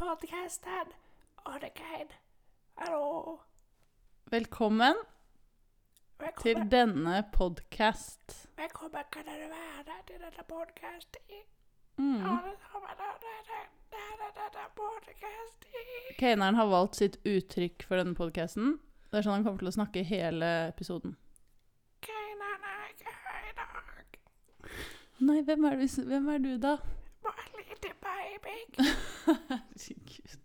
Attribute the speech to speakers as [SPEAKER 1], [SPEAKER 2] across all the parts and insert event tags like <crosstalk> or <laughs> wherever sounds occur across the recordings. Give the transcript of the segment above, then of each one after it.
[SPEAKER 1] Sebastian Ordekein. Hallo.
[SPEAKER 2] Velkommen til
[SPEAKER 1] Velkommen,
[SPEAKER 2] denne podcast.
[SPEAKER 1] velkommen kan dere være til denne podkasten.
[SPEAKER 2] Mm.
[SPEAKER 1] Mm.
[SPEAKER 2] Kaneren har valgt sitt uttrykk for denne podcasten. Det er sånn han kommer til å snakke hele episoden.
[SPEAKER 1] Keinerne er ikke her i dag.
[SPEAKER 2] Nei, hvem er, du- hvem er du da?
[SPEAKER 1] Bare lite baby.
[SPEAKER 2] Herregud.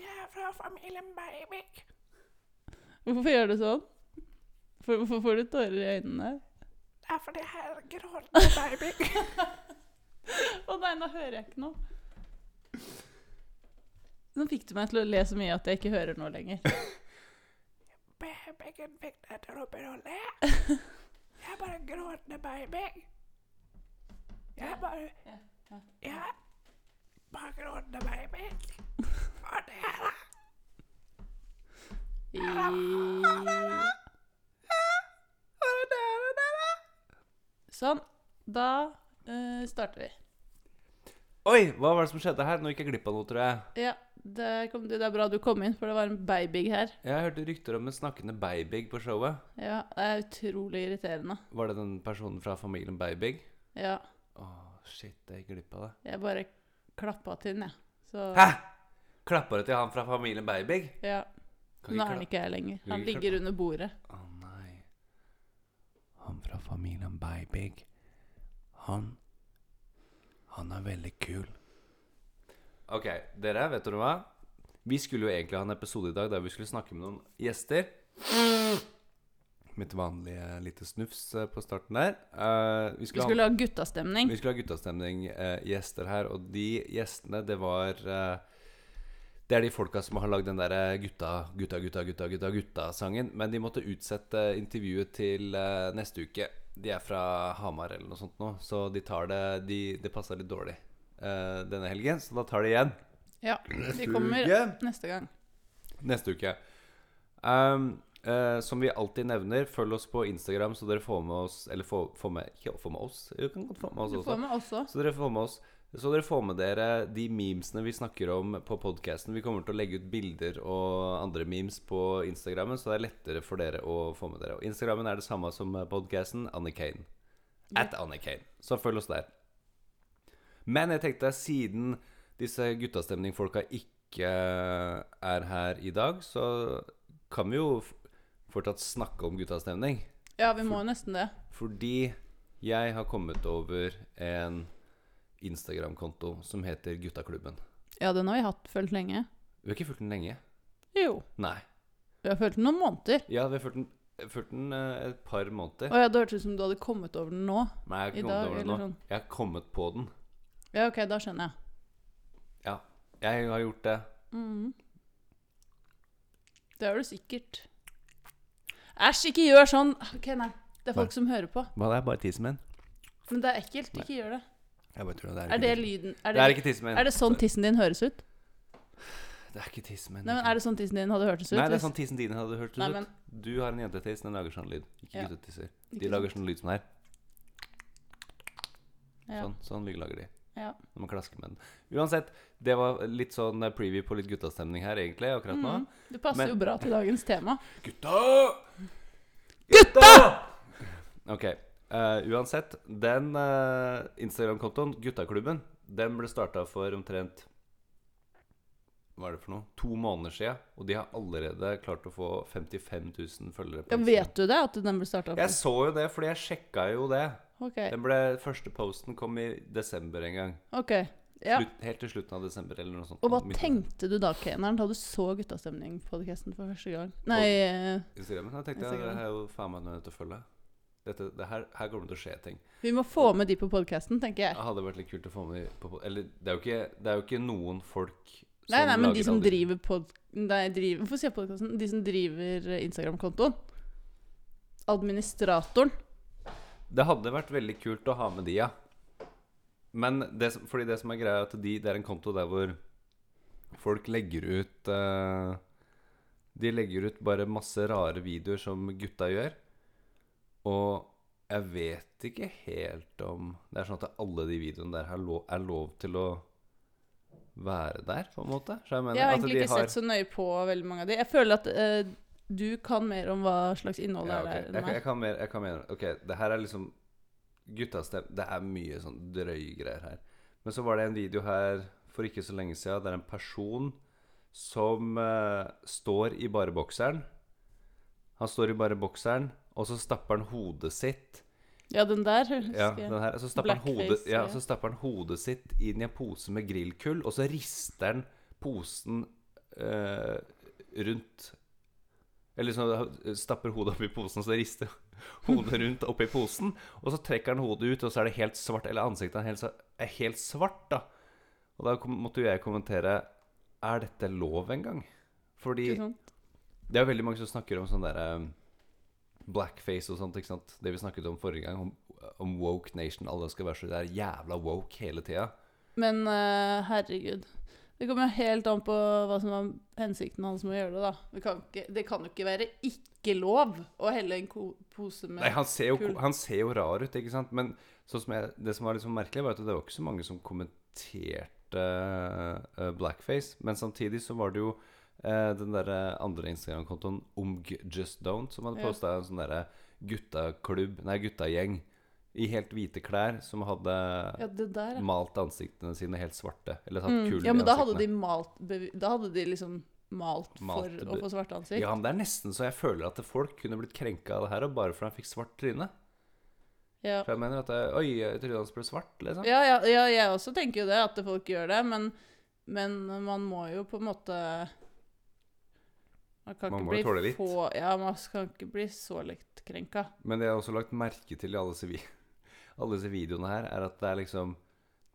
[SPEAKER 1] Jeg er fra familien Baby.
[SPEAKER 2] Hvorfor gjør du sånn? For, hvorfor får du tårer i øynene?
[SPEAKER 1] Det er fordi jeg er gråtende baby.
[SPEAKER 2] Å nei, nå hører jeg ikke noe. Nå fikk du meg til å le så mye at jeg ikke hører noe lenger.
[SPEAKER 1] Babyen fikk deg til å begynne å
[SPEAKER 2] <laughs>
[SPEAKER 1] le. Jeg er bare en gråtende baby. Jeg er bare Jeg er bare gråtende baby. Og det er det.
[SPEAKER 2] I... Sånn. Da eh, starter vi.
[SPEAKER 3] Oi, hva var det som skjedde her? Nå gikk jeg glipp av noe, tror jeg.
[SPEAKER 2] Ja, der kom du. Det er bra du kom inn, for det var en baby her.
[SPEAKER 3] Jeg hørte rykter om en snakkende Beibig på showet.
[SPEAKER 2] Ja, Det er utrolig irriterende.
[SPEAKER 3] Var det den personen fra familien Beibig?
[SPEAKER 2] Ja,
[SPEAKER 3] Å, shit, jeg gikk glipp av det.
[SPEAKER 2] jeg bare klappa til den, jeg. Så
[SPEAKER 3] Hæ? Klapper du til han fra familien Beibig?
[SPEAKER 2] ja, Nå
[SPEAKER 3] Kan ikke
[SPEAKER 2] er han
[SPEAKER 3] klappe-
[SPEAKER 2] ikke her lenger.
[SPEAKER 3] Kan
[SPEAKER 2] Han
[SPEAKER 3] ikke
[SPEAKER 2] ligger under bordet.
[SPEAKER 3] Å nei. Han fra familien Beibig. Han Han er veldig kul. Ok, dere, vet dere hva? Vi skulle jo egentlig ha en episode i dag der vi skulle snakke med noen gjester. Mitt vanlige lite snufs eh, på starten der. Eh, vi,
[SPEAKER 2] Vi
[SPEAKER 3] skulle
[SPEAKER 2] skulle
[SPEAKER 3] ha,
[SPEAKER 2] ha guttastemning.
[SPEAKER 3] vi skulle ha guttastemning eh, gjester her, og de gjestene, det var eh, det er de folka som har lagd den der eh, gutta, gutta, gutta, gutta, gutta, gutta-sangen. Men de måtte utsette intervjuet til eh, neste uke. De er fra Hamar eller noe sånt nå, så de tar det de, Det passer litt dårlig eh, denne helgen, så da tar de igjen
[SPEAKER 2] Ja, de kommer
[SPEAKER 3] uke.
[SPEAKER 2] neste gang.
[SPEAKER 3] neste uke. Ehm, eh, som vi alltid nevner, følg oss på Instagram, så dere får med oss Eller får, får med Ikke får med oss, dere kan godt få med oss
[SPEAKER 2] Du
[SPEAKER 3] også.
[SPEAKER 2] får
[SPEAKER 3] sånn.
[SPEAKER 2] med også.
[SPEAKER 3] Så dere får med oss Så dere får med dere de memesene vi snakker om på podcasten Vi kommer til å legge ut bilder og andre memes på Instagrammen Så det er lettere for dere å få med dere Og Instagrammen er det samme som podcasten Annie Kane At Annie Kane Så følg oss der Men jeg tenkte siden disse guttastemningfolka ikke er her i dag Så kan vi jo f- fortsatt snakke om guttastemning
[SPEAKER 2] Ja, vi må nesten det.
[SPEAKER 3] fordi jeg har kommet over en Instagram-konto som heter Guttaklubben.
[SPEAKER 2] Ja, den har vi hatt følt lenge.
[SPEAKER 3] Vi har ikke fulgt den lenge.
[SPEAKER 2] Jo.
[SPEAKER 3] Nei.
[SPEAKER 2] Vi har følt den noen måneder.
[SPEAKER 3] Ja, vi har fulgt den, fulgt den eh, et par måneder.
[SPEAKER 2] Å ja, det hørtes ut som du hadde kommet over den nå.
[SPEAKER 3] Nei, jeg
[SPEAKER 2] I
[SPEAKER 3] har ikke
[SPEAKER 2] dag,
[SPEAKER 3] kommet
[SPEAKER 2] eller
[SPEAKER 3] over den nå.
[SPEAKER 2] sånn.
[SPEAKER 3] Jeg har kommet på den.
[SPEAKER 2] Ja, ok, da skjønner jeg.
[SPEAKER 3] Ja, jeg har gjort det.
[SPEAKER 2] Mhm. Det har du sikkert. Æsj, ikke gjør sånn! Ok, nei. Det er folk
[SPEAKER 3] Nei.
[SPEAKER 2] som hører på.
[SPEAKER 3] Hva, det er bare tissen min?
[SPEAKER 2] Men det er ekkelt. Ikke gjør det.
[SPEAKER 3] Jeg bare tror det er
[SPEAKER 2] Er det
[SPEAKER 3] ikke tissen.
[SPEAKER 2] lyden Er
[SPEAKER 3] Det er
[SPEAKER 2] det,
[SPEAKER 3] ikke tissen min.
[SPEAKER 2] er det sånn tissen din høres ut?
[SPEAKER 3] Det er ikke tissen min.
[SPEAKER 2] Nei, men Er det sånn tissen din hadde hørtes ut?
[SPEAKER 3] Nei, det er
[SPEAKER 2] hvis-
[SPEAKER 3] sånn tissen din hadde hørt
[SPEAKER 2] Nei,
[SPEAKER 3] ut.
[SPEAKER 2] men-
[SPEAKER 3] Du har en jentetiss, den lager sånn lyd. Ikke
[SPEAKER 2] Ja.
[SPEAKER 3] guttetisser.
[SPEAKER 2] Ikke
[SPEAKER 3] De lager sånn lyd som her.
[SPEAKER 2] Ja.
[SPEAKER 3] Sånn, sånn lyd lager de.
[SPEAKER 2] Ja.
[SPEAKER 3] Når man klasker med den. Uansett, det var litt sånn preview på litt guttastemning her, egentlig, akkurat nå.
[SPEAKER 2] Mhm. Det passer
[SPEAKER 3] Men-
[SPEAKER 2] jo bra til dagens
[SPEAKER 3] <laughs>
[SPEAKER 2] tema.
[SPEAKER 3] Gutta! Gutta! Ok. eh, uansett, den eh, Instagram-kontoen, Guttaklubben, den ble starta for omtrent Hva er det for noe? To måneder sia, og de har allerede klart å få 55 000 følgere. på
[SPEAKER 2] Ja,
[SPEAKER 3] Instagram.
[SPEAKER 2] vet du det? At den ble starta
[SPEAKER 3] Jeg så jo det, fordi jeg sjekka jo det.
[SPEAKER 2] Ok.
[SPEAKER 3] Den ble, første posten kom i desember en gang.
[SPEAKER 2] Eh, ok. Ja.
[SPEAKER 3] Slutt, helt til slutten av desember eller noe sånt.
[SPEAKER 2] Og hva
[SPEAKER 3] Midten av
[SPEAKER 2] tenkte du da, Keneren, da du så Guttastemning-podkasten for første gang? Nei, eh,
[SPEAKER 3] Instagrammen. Jeg tenkte jeg,
[SPEAKER 2] Instagram.
[SPEAKER 3] jeg er jo faen meg nødt til å følge. Dette, det her, her kommer det til å skje ting.
[SPEAKER 2] vi må få med de på podkasten, tenker jeg.
[SPEAKER 3] Det hadde vært litt kult å få med de på Eller det er jo ikke, det er jo ikke noen folk som
[SPEAKER 2] Nei, nei, men de
[SPEAKER 3] lager
[SPEAKER 2] som
[SPEAKER 3] alle
[SPEAKER 2] driver pod... Nei, driver, hvorfor sier jeg podkasten? De som driver eh, Instagram-kontoen. Administratoren.
[SPEAKER 3] Det hadde vært veldig kult å ha med de, ja. Men det, som- fordi det som er greia, er at de, det er en konto der hvor folk legger ut eh, De legger ut bare masse rare videoer som gutta gjør. Og jeg vet ikke helt om Det er sånn at alle de videoene der er lov, er lov til å være der, på en måte. Så jeg mener
[SPEAKER 2] Jeg har
[SPEAKER 3] at
[SPEAKER 2] egentlig
[SPEAKER 3] altså,
[SPEAKER 2] ikke
[SPEAKER 3] de
[SPEAKER 2] sett så nøye på veldig mange av de. Jeg føler at eh, du kan mer om hva slags innhold det
[SPEAKER 3] Ja,
[SPEAKER 2] er
[SPEAKER 3] ok.
[SPEAKER 2] der
[SPEAKER 3] Jeg,
[SPEAKER 2] enn
[SPEAKER 3] kan- jeg
[SPEAKER 2] meg.
[SPEAKER 3] kan mer, jeg kan mer Ok, det her er liksom guttastem Det er mye sånn drøye greier her. Men så var det en video her for ikke så lenge siden der en person som eh, står i bare bokseren. Han står i bare bokseren, og så stapper han hodet sitt
[SPEAKER 2] Ja, den der husker
[SPEAKER 3] ja,
[SPEAKER 2] jeg.
[SPEAKER 3] den her, så, stapper han
[SPEAKER 2] Blackface,
[SPEAKER 3] hodet, ja,
[SPEAKER 2] ja.
[SPEAKER 3] så stapper han hodet sitt inn i en pose med grillkull, og så rister han posen eh, rundt Eller liksom stapper hodet oppi posen, og så rister <laughs> hodet rundt oppi posen. Og så trekker han hodet ut, og så er det helt svart. Eller ansiktet er helt, s- er helt svart, da. Og da kom, måtte jo jeg kommentere Er dette lov engang? Fordi
[SPEAKER 2] Ikke sant?
[SPEAKER 3] det er veldig mange som snakker om sånn derre blackface og sånt, ikke sant. Det vi snakket om forrige gang, om, om woke nation. Alle skal være så der jævla woke hele tida.
[SPEAKER 2] Men eh, herregud. Det kommer jo helt an på hva som var hensikten hans med å gjøre det. da. Det kan, ikke, det kan jo ikke være ikke lov å helle en ko pose med
[SPEAKER 3] Nei, han ser, jo,
[SPEAKER 2] kul.
[SPEAKER 3] han ser jo rar ut, ikke sant. Men sånn som jeg, det som var liksom merkelig, var at det var ikke så mange som kommenterte eh, blackface. Men samtidig så var det jo eh, den der andre Instagram-kontoen Omg Just Don't som hadde
[SPEAKER 2] Ja.
[SPEAKER 3] posta en sånn derre guttaklubb, nei, guttagjeng i helt hvite klær som hadde
[SPEAKER 2] Ja, det der, ja.
[SPEAKER 3] malt ansiktene sine helt svarte. Eller tatt
[SPEAKER 2] Mm.
[SPEAKER 3] kull
[SPEAKER 2] Ja, men
[SPEAKER 3] i
[SPEAKER 2] da hadde, de
[SPEAKER 3] ansiktene.
[SPEAKER 2] malt, bevi- da hadde de liksom malt for
[SPEAKER 3] Malt
[SPEAKER 2] å
[SPEAKER 3] be-
[SPEAKER 2] få svarte ansikt.
[SPEAKER 3] Ja, men det er nesten så jeg føler at folk kunne blitt krenka av det her, og bare fordi han fikk svart tryne.
[SPEAKER 2] Ja.
[SPEAKER 3] For jeg mener at det, Oi, trynet hans ble svart, liksom.
[SPEAKER 2] Ja, ja, ja, jeg også tenker jo det, at folk gjør det, men, men man må jo på en måte Man kan
[SPEAKER 3] Man må
[SPEAKER 2] ikke
[SPEAKER 3] jo
[SPEAKER 2] bli
[SPEAKER 3] tåle litt.
[SPEAKER 2] få Ja, man skal ikke bli så lett krenka.
[SPEAKER 3] Men det jeg har også lagt merke til i alle disse, vi- <laughs> alle disse videoene her, er at det er liksom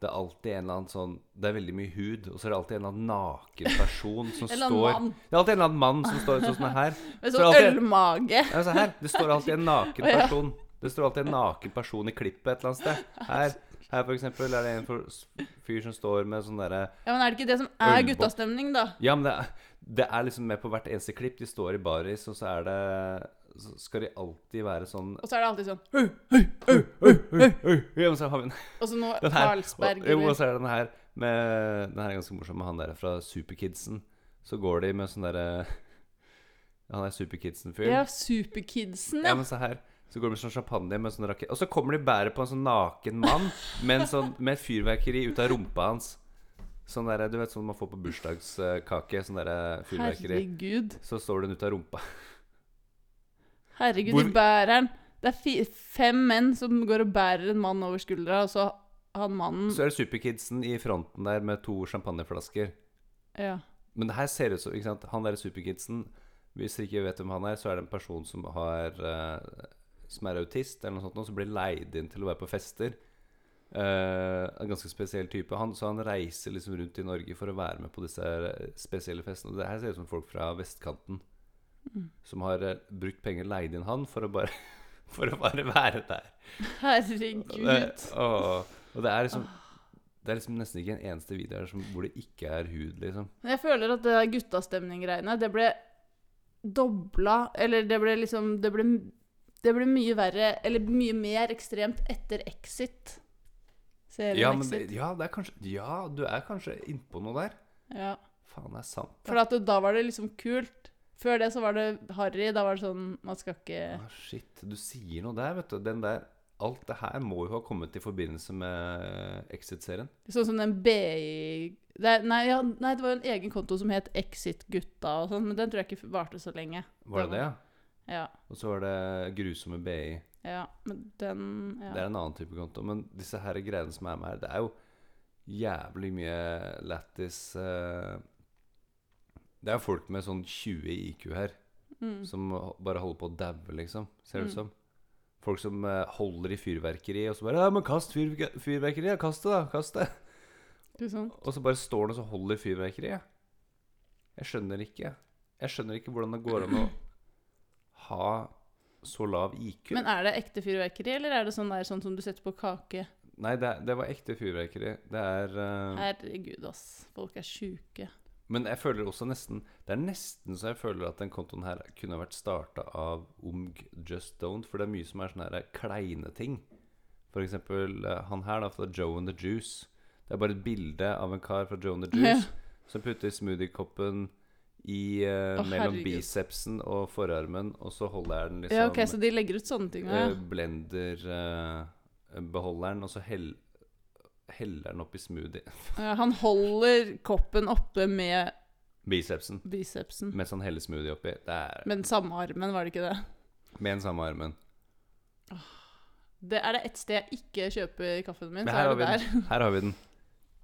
[SPEAKER 3] Det er alltid en eller annen sånn Det er veldig mye hud, og så er det alltid en eller annen naken person som
[SPEAKER 2] <laughs> En eller annen
[SPEAKER 3] står
[SPEAKER 2] mann
[SPEAKER 3] Det er alltid en eller annen mann som står sånn som her.
[SPEAKER 2] med
[SPEAKER 3] Så
[SPEAKER 2] sånn
[SPEAKER 3] alltid-
[SPEAKER 2] ølmage.
[SPEAKER 3] Ja, se her. Det står alltid en naken
[SPEAKER 2] Å, <laughs> ja.
[SPEAKER 3] person. Det står alltid en naken person i klippet et eller annet sted. Her, her for eksempel, er det en for- fyr som står med sånn derre
[SPEAKER 2] Ja, Men er det ikke det som er
[SPEAKER 3] Ølbob.
[SPEAKER 2] guttastemning, da?
[SPEAKER 3] Ja, men det er, det er liksom med på hvert eneste klipp. De står i baris, og så er det Så skal de alltid være sånn
[SPEAKER 2] Og så er det alltid sånn
[SPEAKER 3] Ja, men så har vi den,
[SPEAKER 2] Og så nå
[SPEAKER 3] den her.
[SPEAKER 2] Carlsberg
[SPEAKER 3] Og, jo, og
[SPEAKER 2] eller
[SPEAKER 3] så er det den her med Den her er ganske morsom, med han der fra Superkidsen. Så går de med sånn derre Han er Superkidsen-fyren.
[SPEAKER 2] Ja, Superkidsen,
[SPEAKER 3] Ja,
[SPEAKER 2] ja.
[SPEAKER 3] men se her. Så går de med sånn champagne med sånn rakett Og så kommer de bære på en sånn naken mann med, en sånn, med et fyrverkeri ut av rumpa hans. Sånn der, du vet sånn man får på bursdagskake. Sånn der fyrverkeri.
[SPEAKER 2] Herregud.
[SPEAKER 3] Så står den ut av rumpa.
[SPEAKER 2] Herregud,
[SPEAKER 3] Hvor-
[SPEAKER 2] de bærer den. Det er fi fem menn som går og bærer en mann over skuldra, og så han mannen
[SPEAKER 3] Så er det Superkidsen i fronten der med to champagneflasker.
[SPEAKER 2] Ja.
[SPEAKER 3] Men det her ser ut som ikke sant? Han der Superkidsen Hvis dere ikke vet hvem han er, så er det en person som har eh, Som er autist eller noe sånt, og som blir leid inn til å være på fester. Eh, en ganske spesiell type. Han, så han reiser liksom rundt i Norge for å være med på disse her spesielle festene. Det her ser ut som folk fra vestkanten som har eh, brukt penger, leid inn han, for å bare, <laughs> for å bare være der. Og det,
[SPEAKER 2] Herregud.
[SPEAKER 3] å, og det er liksom Det er liksom nesten ikke en eneste video her som, hvor det ikke er hud, liksom.
[SPEAKER 2] Men jeg føler at det der guttastemning-greiene, det ble dobla Eller det ble liksom det ble, det ble mye verre, eller mye mer ekstremt, etter Exit. Serien
[SPEAKER 3] Ja, men
[SPEAKER 2] Exit.
[SPEAKER 3] det, ja, det er kanskje, ja, du er kanskje innpå noe der.
[SPEAKER 2] Ja.
[SPEAKER 3] Faen, det er sant.
[SPEAKER 2] For at da var det liksom kult. Før det så var det harry. Da var det sånn Man skal ikke
[SPEAKER 3] Ah, shit, du sier noe der, vet du. Den der, alt det her må jo ha kommet i forbindelse med Exit-serien.
[SPEAKER 2] Sånn som den BI det, er- nei, ja, nei, det var jo en egen konto som het Exit-gutta og sånn, men den tror jeg ikke varte så lenge.
[SPEAKER 3] Var det det, ja?
[SPEAKER 2] Ja.
[SPEAKER 3] Og så var det Grusomme BI.
[SPEAKER 2] ja men den ja.
[SPEAKER 3] Det er en annen type konto. Men disse her greiene som er med her, det er jo jævlig mye lættis eh, Det er jo folk med sånn 20 i IQ her,
[SPEAKER 2] Mm.
[SPEAKER 3] som bare holder på å daue, liksom. Ser det
[SPEAKER 2] Mm.
[SPEAKER 3] ut som. Folk som eh, holder i fyrverkeri, og så bare 'Ja, men kast fyrverke- fyrverkeri, ja. Kast det, da. Kast
[SPEAKER 2] <laughs>
[SPEAKER 3] det.'
[SPEAKER 2] Ikke sant?
[SPEAKER 3] Og så bare står han og så holder fyrverkeriet. Jeg skjønner ikke. Jeg skjønner ikke hvordan det går an å ha så lav IQ.
[SPEAKER 2] Men er det ekte fyrverkeri, eller er det sånn, der, sånn som du setter på kake?
[SPEAKER 3] Nei, det, er- det var ekte fyrverkeri. Det er eh,
[SPEAKER 2] Herregud, ass. Folk er sjuke.
[SPEAKER 3] Men jeg føler også nesten Det er nesten så jeg føler at den kontoen her kunne vært starta av Omg Just Don't, for det er mye som er sånne her kleine ting. For eksempel eh, han her, da, fra Joe and the Juice. Det er bare et bilde av en kar fra Joan the Juice som putter smoothie-koppen i, eh,
[SPEAKER 2] Å,
[SPEAKER 3] mellom
[SPEAKER 2] herregud.
[SPEAKER 3] bicepsen og forarmen, og så holder jeg den liksom
[SPEAKER 2] Ja, ok, så de legger ut sånne ting
[SPEAKER 3] eh,
[SPEAKER 2] òg,
[SPEAKER 3] blenderbeholderen, og så hell, heller den oppi smoothie.
[SPEAKER 2] ja. Han holder koppen oppe med
[SPEAKER 3] Bicepsen.
[SPEAKER 2] bicepsen.
[SPEAKER 3] Mens han heller smoothie oppi. Det er
[SPEAKER 2] Men samme armen, var det ikke det?
[SPEAKER 3] med den samme armen.
[SPEAKER 2] Det er det ett sted jeg ikke kjøper kaffen min, så
[SPEAKER 3] Men her
[SPEAKER 2] er
[SPEAKER 3] har, vi
[SPEAKER 2] det
[SPEAKER 3] <laughs>
[SPEAKER 2] der.
[SPEAKER 3] den. her har vi den.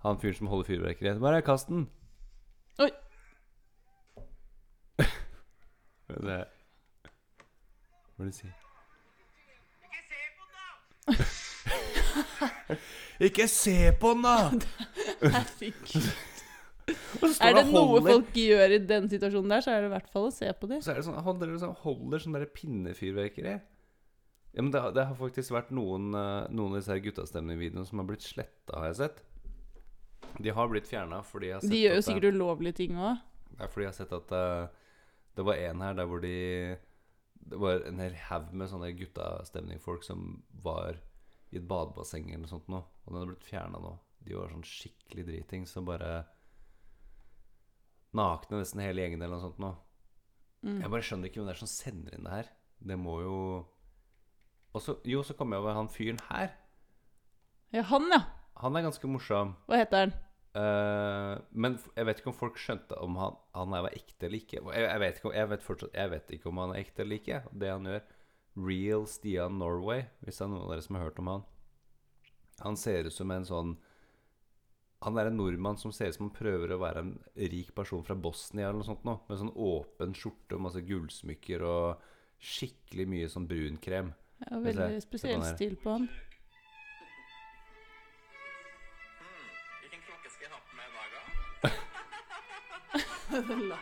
[SPEAKER 3] Han fyren som holder fyrverkeriet. Bare kast den!
[SPEAKER 2] Oi.
[SPEAKER 3] Men det er- Hva er det du sier? Ikke se på <laughs> den, da!
[SPEAKER 2] Herregud.
[SPEAKER 3] Og så står
[SPEAKER 2] Er det
[SPEAKER 3] han og
[SPEAKER 2] noe
[SPEAKER 3] holder-
[SPEAKER 2] folk gjør i den situasjonen der, så er det i hvert fall å se på dem.
[SPEAKER 3] Så er det sånn, han driver sånn, holder sånn der pinnefyrverkeri. Ja, men det, har- det har faktisk vært noen, eh, noen av disse her guttastemningvideoene som har blitt sletta, har jeg sett. De har blitt fjerna fordi jeg har sett
[SPEAKER 2] De gjør jo
[SPEAKER 3] at det-
[SPEAKER 2] sikkert ulovlige ting òg.
[SPEAKER 3] Det er fordi jeg har sett at eh, det var en her der hvor de Det var en hel haug med sånne guttastemningfolk som var i et badebasseng eller noe sånt nå, og den hadde blitt fjerna nå. De var sånn skikkelig driting, så bare Nakne nesten hele gjengen eller noe sånt nå.
[SPEAKER 2] Mm.
[SPEAKER 3] Jeg bare skjønner ikke hvem det er som sender inn det her. Det må jo Og så Jo, så kom jeg over han fyren her.
[SPEAKER 2] Ja, han, ja.
[SPEAKER 3] Han er ganske morsom.
[SPEAKER 2] Hva heter han?
[SPEAKER 3] Eh, men f- jeg vet ikke om folk skjønte om han, han er ekte eller ikke. Jeg, jeg, vet ikke om, jeg, vet fortsatt, jeg vet ikke om han er ekte eller ikke, det han gjør. Real Stian Norway, hvis det er noen av dere som har hørt om han. Han ser ut som en sånn Han er en nordmann som ser ut som han prøver å være en rik person fra Bosnia eller noe sånt nå, med sånn åpen skjorte og masse gullsmykker og skikkelig mye sånn brunkrem.
[SPEAKER 2] Ja,
[SPEAKER 3] Hvis jeg-
[SPEAKER 2] veldig
[SPEAKER 3] hvis
[SPEAKER 2] spesiell
[SPEAKER 3] han er-
[SPEAKER 2] stil på han.
[SPEAKER 4] Hvilken klokke skal jeg ha på meg i dag, da?
[SPEAKER 2] Ja,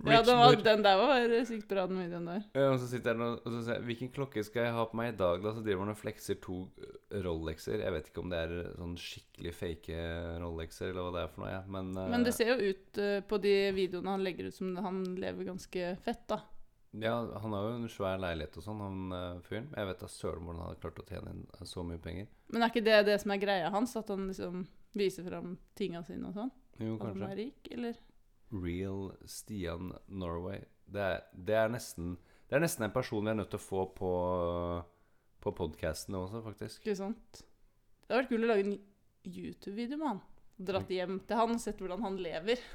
[SPEAKER 3] Rich
[SPEAKER 2] den, var,
[SPEAKER 3] Nor-
[SPEAKER 2] den der var sykt bra, den videoen der.
[SPEAKER 3] Ja, Eh, og så sitter han og, og så sier jeg, Hvilken klokke skal jeg ha på meg i dag, da? Så driver han og flekser to eh, Rolexer. Jeg vet ikke om det er sånn skikkelig fake eh, Rolexer, eller hva det er for noe, ja. men, eh,
[SPEAKER 2] Men det ser jo ut eh, på de videoene han legger ut som han lever ganske fett, da.
[SPEAKER 3] Ja, han har jo en svær leilighet og sånn, han eh, fyren. Jeg vet da søren hvordan han har klart å tjene inn eh, så mye penger.
[SPEAKER 2] Men er ikke det det som er greia hans? At han liksom viser fram tinga sine og sånn?
[SPEAKER 3] Jo,
[SPEAKER 2] At han
[SPEAKER 3] kanskje.
[SPEAKER 2] er rik, eller?
[SPEAKER 3] Real Stian Norway. Det er, det er nesten Det er nesten en person vi er nødt til å få på På podkasten også, faktisk.
[SPEAKER 2] Ikke sant? Det hadde vært kult å lage en YouTube-video med han. Dratt hjem til han og sett hvordan han lever.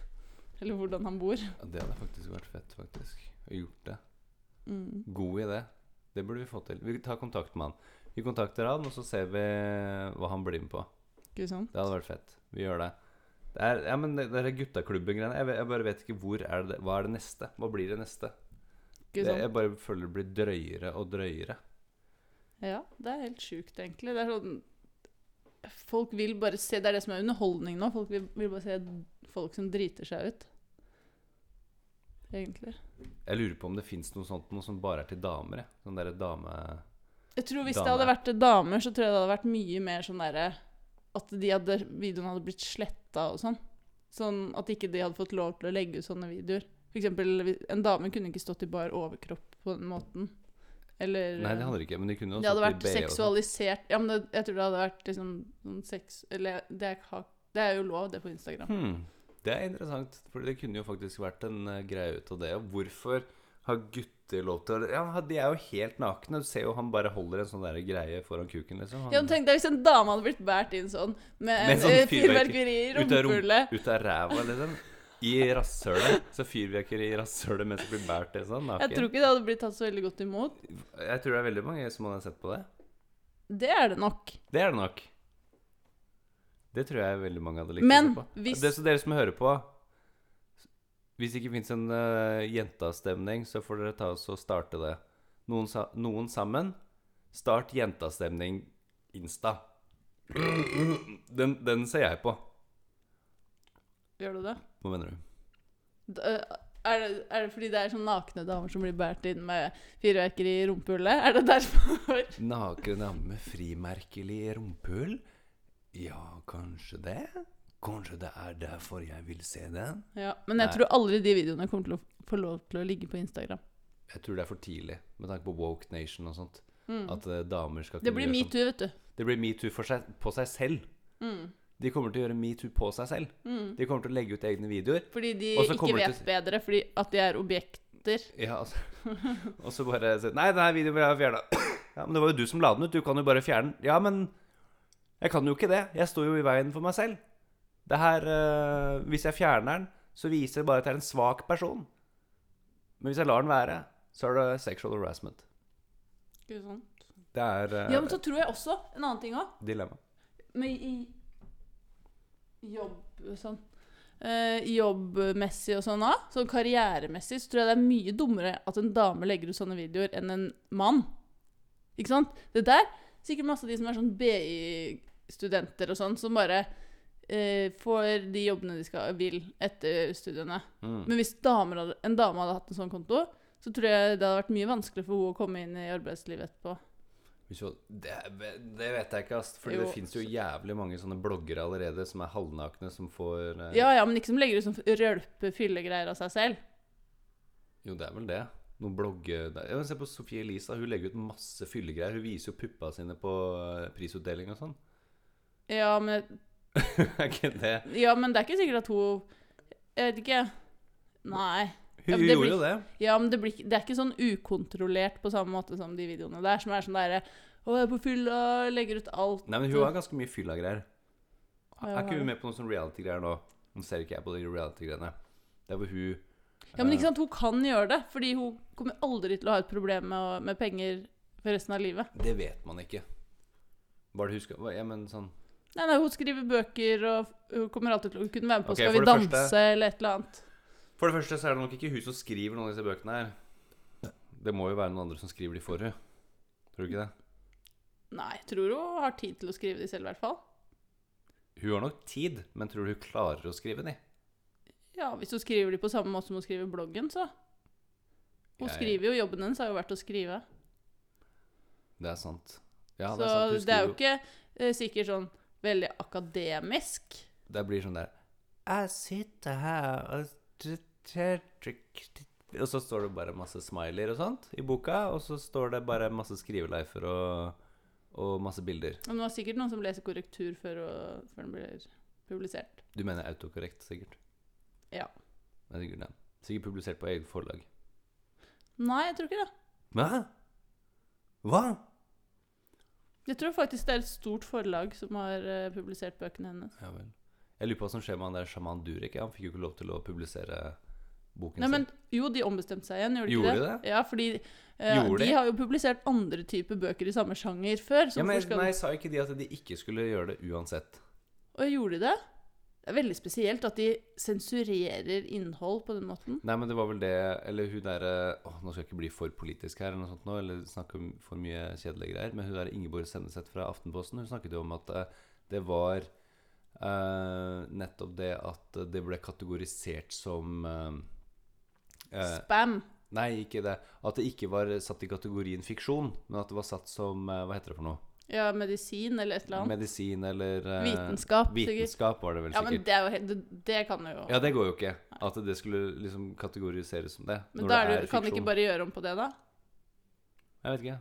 [SPEAKER 2] Eller hvordan han bor.
[SPEAKER 3] Ja, Det hadde faktisk vært fett, faktisk. Å gjort det.
[SPEAKER 2] Mm.
[SPEAKER 3] God idé. Det burde vi få til. Vi tar kontakt med han. Vi kontakter han, og så ser vi hva han blir med på.
[SPEAKER 2] Ikke sant?
[SPEAKER 3] Det hadde vært fett. Vi gjør det. Det er, ja, men det, det er guttaklubben-greiene. Jeg, ve- jeg bare vet ikke hvor er det Hva er det neste? Hva blir det neste?
[SPEAKER 2] Ikke
[SPEAKER 3] Det,
[SPEAKER 2] sant?
[SPEAKER 3] jeg bare føler det blir drøyere og drøyere.
[SPEAKER 2] Ja, det er helt sjukt, egentlig. Det er sånn Folk vil bare se Det er det som er underholdning nå. Folk vil, vil bare se folk som driter seg ut. Egentlig.
[SPEAKER 3] Jeg lurer på om det fins noe sånt noe som bare er til damer. Jeg. Sånn derre dame...
[SPEAKER 2] Jeg tror Hvis det
[SPEAKER 3] Dame.
[SPEAKER 2] hadde vært damer, så tror jeg det hadde vært mye mer sånn derre At de hadde, videoene hadde blitt sletta og sånn. Sånn At ikke de hadde fått lov til å legge ut sånne videoer. For eksempel, vi- en dame kunne ikke stått i bar overkropp på den måten. Eller
[SPEAKER 3] Nei, det hadde det ikke. Men det kunne jo
[SPEAKER 2] Det hadde
[SPEAKER 3] stått i
[SPEAKER 2] vært
[SPEAKER 3] BH og sånn.
[SPEAKER 2] seksualisert Ja, men det, jeg tror det hadde vært liksom sånn sex Eller det er, ikke- det er jo lov, det på Instagram.
[SPEAKER 3] Hmm. Det er interessant, for det kunne jo faktisk vært en eh, greie ut av det. Og hvorfor har gutter lov til å Ja, de er jo helt nakne. Du ser jo han bare holder en sånn der greie foran kuken, liksom. Han,
[SPEAKER 2] Ja, men tenk deg hvis en dame hadde blitt båret inn sånn med,
[SPEAKER 3] Med
[SPEAKER 2] en
[SPEAKER 3] sånn
[SPEAKER 2] eh,
[SPEAKER 3] fyrverkeri.
[SPEAKER 2] fyrverkeri i
[SPEAKER 3] ut av rom-
[SPEAKER 2] rumpehullet.
[SPEAKER 3] Ut av ræva, liksom. I rasshølet. Så fyrverkeri i rasshølet mens det blir båret til sånn.
[SPEAKER 2] Jeg
[SPEAKER 3] Naken.
[SPEAKER 2] tror ikke det hadde blitt tatt så veldig godt imot.
[SPEAKER 3] Jeg tror det er veldig mange som hadde sett på det.
[SPEAKER 2] Det er det nok.
[SPEAKER 3] Det er det nok. Det tror jeg veldig mange hadde likt
[SPEAKER 2] Men
[SPEAKER 3] å se på.
[SPEAKER 2] hvis-
[SPEAKER 3] Det er så dere som hører på Hvis det ikke fins en uh, jentastemning, så får dere ta oss og starte det. Noen, sa noen sammen. Start jentastemning Insta. Den, den ser jeg på.
[SPEAKER 2] Gjør du det?
[SPEAKER 3] Hva mener du?
[SPEAKER 2] D- eh, Er det, er det fordi det er sånn nakne damer som blir båret inn med fyrverkeri i rumpehullet? Er det derfor? <laughs>
[SPEAKER 3] Nakne dame med frimerkelig rumpehull? Ja, kanskje det? Kanskje det er derfor jeg vil se den?
[SPEAKER 2] Ja, Men jeg
[SPEAKER 3] Nei.
[SPEAKER 2] tror aldri de videoene kommer til å få lov til å ligge på Instagram.
[SPEAKER 3] Jeg tror det er for tidlig, med tanke på Woke Nation og sånt. At eh, damer skal
[SPEAKER 2] Mm. Det blir
[SPEAKER 3] gjøre
[SPEAKER 2] metoo, vet du.
[SPEAKER 3] sånn. Det blir metoo for seg, på seg selv.
[SPEAKER 2] Mm.
[SPEAKER 3] De kommer til å gjøre metoo på seg selv. De kommer til å legge ut egne videoer.
[SPEAKER 2] Fordi de
[SPEAKER 3] Og så
[SPEAKER 2] ikke
[SPEAKER 3] kommer det
[SPEAKER 2] vet
[SPEAKER 3] til-
[SPEAKER 2] bedre, fordi at de er objekter.
[SPEAKER 3] Ja,
[SPEAKER 2] <laughs>
[SPEAKER 3] altså. Og så bare si, Nei, denne videoen ble fjerna. <clears throat> Ja, men det var jo du som la den ut. Du kan jo bare fjerne den. Ja, men jeg kan jo ikke det. Jeg står jo i veien for meg selv. Det her eh, Hvis jeg fjerner den, så viser det bare at jeg er en svak person. Men hvis jeg lar den være, så er det sexual harassment.
[SPEAKER 2] Ikke sant?
[SPEAKER 3] Det er eh,
[SPEAKER 2] Ja, men så tror jeg også en annen ting òg.
[SPEAKER 3] dilemma.
[SPEAKER 2] Men i jobb sånn eh, Jobbmessig og sånn òg, sånn karrieremessig, så tror jeg det er mye dummere at en dame legger ut sånne videoer enn en mann. Ikke sant? Det der Sikkert masse av de som er sånn BI-studenter og sånn, som bare eh, får de jobbene de skal, vil etter studiene.
[SPEAKER 3] Mm.
[SPEAKER 2] Men hvis damer hadde, en dame hadde hatt en sånn konto, så tror jeg det hadde vært mye vanskeligere for henne å komme inn i arbeidslivet etterpå.
[SPEAKER 3] Hvis jo- Det, det vet jeg ikke, ass. Fordi
[SPEAKER 2] Jo.
[SPEAKER 3] det fins jo jævlig mange sånne bloggere allerede som er halvnakne, som får eh,
[SPEAKER 2] Ja, ja, men ikke som legger ut sånn rølpefyllegreier av seg selv.
[SPEAKER 3] Jo, det er vel det. Noen blogge... Ja, men Se på Sofie Elise. Hun legger ut masse fyllegreier. Hun viser jo puppa sine på eh, prisutdeling og sånn. <laughs>
[SPEAKER 2] Ja, men,
[SPEAKER 3] er ikke det
[SPEAKER 2] ja, men det er ikke sikkert at hun Jeg vet ikke. Nei.
[SPEAKER 3] Hun
[SPEAKER 2] Ja, men det
[SPEAKER 3] gjorde
[SPEAKER 2] blir-
[SPEAKER 3] jo det.
[SPEAKER 2] Ja, men det, blir, ikke- det er ikke sånn ukontrollert på samme måte som de videoene der, som er sånn derre Å, jeg er på fylla, legger ut alt.
[SPEAKER 3] Nei, men hun har ganske mye fyllagreier.
[SPEAKER 2] Ja,
[SPEAKER 3] Er ikke
[SPEAKER 2] ja.
[SPEAKER 3] hun med på noen sånne reality-greier nå? Nå ser ikke jeg på de reality-greiene. Det er hvor hun Eh,
[SPEAKER 2] Ja, men ikke sant, hun kan gjøre det, fordi hun kommer aldri til å ha et problem med, å- med penger for resten av livet.
[SPEAKER 3] Det vet man ikke. Bare du husker Ja, men sånn
[SPEAKER 2] Nei, nei, hun skriver bøker, og hun kommer alltid til å kunne være med på
[SPEAKER 3] Ok,
[SPEAKER 2] Skal
[SPEAKER 3] for
[SPEAKER 2] vi
[SPEAKER 3] det
[SPEAKER 2] danse,
[SPEAKER 3] første-
[SPEAKER 2] eller et eller annet.
[SPEAKER 3] For det første så er det nok ikke hun som skriver noen av disse bøkene her. Det må jo være noen andre som skriver de for henne. Tror du ikke det?
[SPEAKER 2] Nei, tror hun har tid til å skrive de selv, i hvert fall.
[SPEAKER 3] Hun har nok tid, men tror du hun klarer å skrive de?
[SPEAKER 2] Ja, hvis hun skriver de på samme måte som hun skriver bloggen, så. Hun
[SPEAKER 3] Jeg-
[SPEAKER 2] skriver jo jobben hennes, har jo vært å skrive.
[SPEAKER 3] Det er sant. Ja,
[SPEAKER 2] så
[SPEAKER 3] det er sant. Hun
[SPEAKER 2] det er
[SPEAKER 3] skriver
[SPEAKER 2] jo ikke eh, sikkert sånn veldig akademisk.
[SPEAKER 3] Det blir sånn der Jeg sitter her og Og så står det bare masse smileyer og sånt i boka, og så står det bare masse skriveleifer og, og masse bilder.
[SPEAKER 2] Men det var sikkert noen som leser korrektur før, og, før den blir publisert.
[SPEAKER 3] Du mener autokorrekt, sikkert?
[SPEAKER 2] Ja.
[SPEAKER 3] Det er sikkert det. Sikkert publisert på eget forlag.
[SPEAKER 2] Nei, jeg tror ikke det.
[SPEAKER 3] Hæ? Hva?
[SPEAKER 2] Jeg tror faktisk det er et stort forlag som har eh, publisert bøkene hennes.
[SPEAKER 3] Ja vel. Jeg lurer på hva som skjer med han der sjaman Durek. ja. Han fikk jo ikke lov til å publisere boken
[SPEAKER 2] Nei, men jo, de ombestemte seg igjen, gjorde de ikke
[SPEAKER 3] Gjorde
[SPEAKER 2] det? Ja, fordi eh,
[SPEAKER 3] Gjorde
[SPEAKER 2] de
[SPEAKER 3] de?
[SPEAKER 2] har jo publisert andre typer bøker i samme sjanger før. Så
[SPEAKER 3] Ja, men
[SPEAKER 2] hvorfor skal...
[SPEAKER 3] Nei, sa ikke de at de ikke skulle gjøre det uansett?
[SPEAKER 2] Og gjorde de det? Det er veldig spesielt at de sensurerer innhold på den måten.
[SPEAKER 3] Nei, men det var vel det Eller hun derre Åh, nå skal jeg ikke bli for politisk her, eller noe sånt nå, eller snakke om for mye kjedelige greier, men hun der Ingeborg Senneset fra Aftenposten, hun snakket jo om at eh, det var eh, nettopp det at det ble kategorisert som eh, eh,
[SPEAKER 2] Spam.
[SPEAKER 3] Nei, ikke det. At det ikke var satt i kategorien fiksjon, men at det var satt som eh, Hva heter det for noe?
[SPEAKER 2] Ja, medisin eller et eller annet.
[SPEAKER 3] Medisin eller eh,
[SPEAKER 2] Vitenskap, sikkert.
[SPEAKER 3] Vitenskap var det vel
[SPEAKER 2] Ja, men
[SPEAKER 3] sikkert.
[SPEAKER 2] det, er jo helt, det, det kan jo
[SPEAKER 3] Ja, det går jo ikke. At det skulle liksom kategoriseres som det.
[SPEAKER 2] Men
[SPEAKER 3] når
[SPEAKER 2] da
[SPEAKER 3] det
[SPEAKER 2] er du, kan de
[SPEAKER 3] fiksjon.
[SPEAKER 2] ikke bare gjøre om på det, da?
[SPEAKER 3] Jeg vet ikke.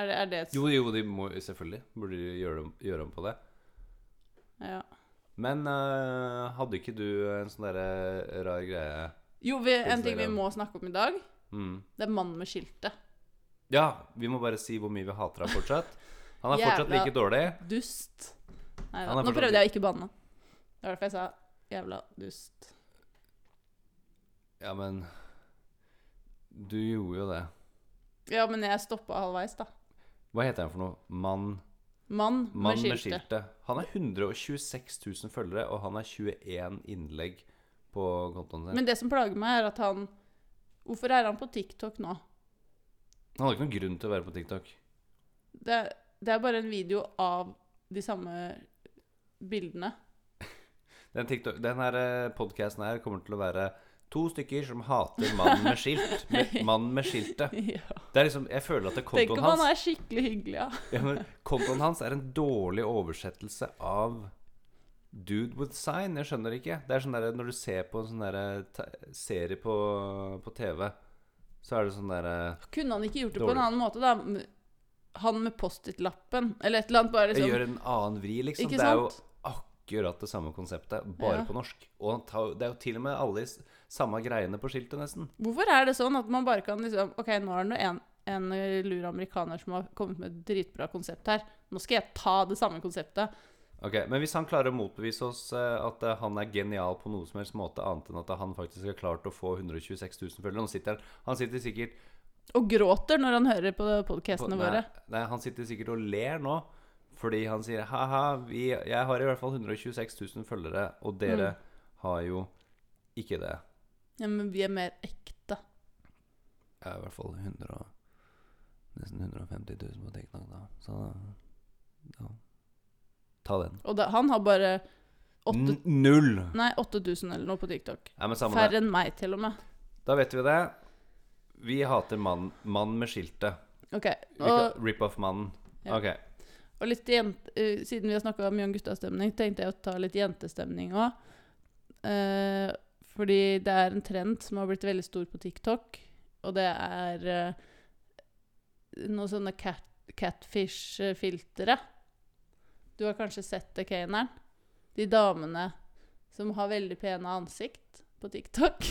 [SPEAKER 2] Er det, er det et
[SPEAKER 3] Jo, jo, de må selvfølgelig burde de gjøre, om- gjøre om på det.
[SPEAKER 2] ja.
[SPEAKER 3] Men eh, hadde ikke du en sånn derre rar greie
[SPEAKER 2] Jo, vi, en
[SPEAKER 3] Tusen
[SPEAKER 2] ting vi
[SPEAKER 3] takk.
[SPEAKER 2] må snakke om i dag,
[SPEAKER 3] mm.
[SPEAKER 2] det er mannen med skiltet.
[SPEAKER 3] Ja, vi må bare si hvor mye vi hater ham fortsatt. Han
[SPEAKER 2] <laughs>
[SPEAKER 3] er fortsatt
[SPEAKER 2] Jævla-
[SPEAKER 3] like dårlig.
[SPEAKER 2] Dust. Nei da.
[SPEAKER 3] Han er
[SPEAKER 2] Nå
[SPEAKER 3] fortsatt-
[SPEAKER 2] prøvde jeg å ikke banne. Det var derfor jeg sa jævla dust.
[SPEAKER 3] Ja, men Du gjorde jo det.
[SPEAKER 2] Ja, men jeg stoppa halvveis, da.
[SPEAKER 3] Hva heter han for noe? Mann,
[SPEAKER 2] Mann,
[SPEAKER 3] mann med
[SPEAKER 2] med skiltet.
[SPEAKER 3] skiltet. Han er 126 000 følgere, og han er 21 innlegg på kontoen sin.
[SPEAKER 2] Men det som plager meg, er at han Hvorfor er han på TikTok nå?
[SPEAKER 3] Han hadde ikke noen grunn til å være på TikTok.
[SPEAKER 2] Det, det er bare en video av de samme bildene.
[SPEAKER 3] Den, TikTok, den her podkasten her kommer til å være to stykker som hater mannen med skilt.
[SPEAKER 2] <laughs>
[SPEAKER 3] Med, mannen med skiltet.
[SPEAKER 2] ja.
[SPEAKER 3] Det er liksom, jeg føler at det
[SPEAKER 2] Tenk
[SPEAKER 3] kontoen
[SPEAKER 2] om han
[SPEAKER 3] hans
[SPEAKER 2] er skikkelig hyggelig, ja.
[SPEAKER 3] ja, men Kontoen hans er en dårlig oversettelse av Dude with sign. Jeg skjønner ikke. Det er sånn der, Når du ser på en sånn der te- serie på, på TV, så er det sånn derre
[SPEAKER 2] Kunne han ikke gjort det på
[SPEAKER 3] Dårlig.
[SPEAKER 2] en annen måte, da? han med Post-It-lappen, eller et eller annet. Bare liksom
[SPEAKER 3] Jeg gjør en annen vri, liksom.
[SPEAKER 2] Ikke
[SPEAKER 3] Det er jo
[SPEAKER 2] sant?
[SPEAKER 3] akkurat det samme konseptet, bare
[SPEAKER 2] Ja.
[SPEAKER 3] på norsk. Og han tar, det er jo til og med alle de s- samme greiene på skiltet, nesten.
[SPEAKER 2] Hvorfor er det sånn at man bare kan liksom Ok, nå er det nå en, en lur amerikaner som har kommet med et dritbra konsept her. Nå skal jeg ta det samme konseptet.
[SPEAKER 3] Ok, Men hvis han klarer å motbevise oss eh, at eh, han er genial på noe som helst måte, annet enn at han faktisk har klart å få 126 000 følgere Nå sitter han, han sitter sikkert
[SPEAKER 2] Og gråter når han hører på
[SPEAKER 3] på,
[SPEAKER 2] podkastene
[SPEAKER 3] nei,
[SPEAKER 2] våre.
[SPEAKER 3] nei, han sitter sikkert og ler nå fordi han sier ha-ha, vi, jeg har i hvert fall 126 000 følgere, og dere
[SPEAKER 2] Mm.
[SPEAKER 3] har jo ikke det.
[SPEAKER 2] Ja, men vi er mer ekte.
[SPEAKER 3] Jeg er i hvert fall 100 og, nesten 150 000 på TikTok, da. Så ja. Ta den.
[SPEAKER 2] Og da, han har bare åtte-
[SPEAKER 3] N null!
[SPEAKER 2] nei, 8000 eller noe på TikTok.
[SPEAKER 3] Nei, men Mm. samme
[SPEAKER 2] Færre enn meg, til og med.
[SPEAKER 3] det. Da vet vi det. Vi hater mann, mann med skiltet.
[SPEAKER 2] Ok,
[SPEAKER 3] Vi kan-
[SPEAKER 2] Og,
[SPEAKER 3] Rip off mannen.
[SPEAKER 2] Ja.
[SPEAKER 3] Ok.
[SPEAKER 2] og litt jent, eh, siden vi har snakka mye om guttastemning, tenkte jeg å ta litt jentestemning òg. fordi det er en trend som har blitt veldig stor på TikTok, og det er eh, noen sånne cat, catfish-filtre. Du har kanskje sett det, Kaneren? De damene som har veldig pene ansikt på TikTok.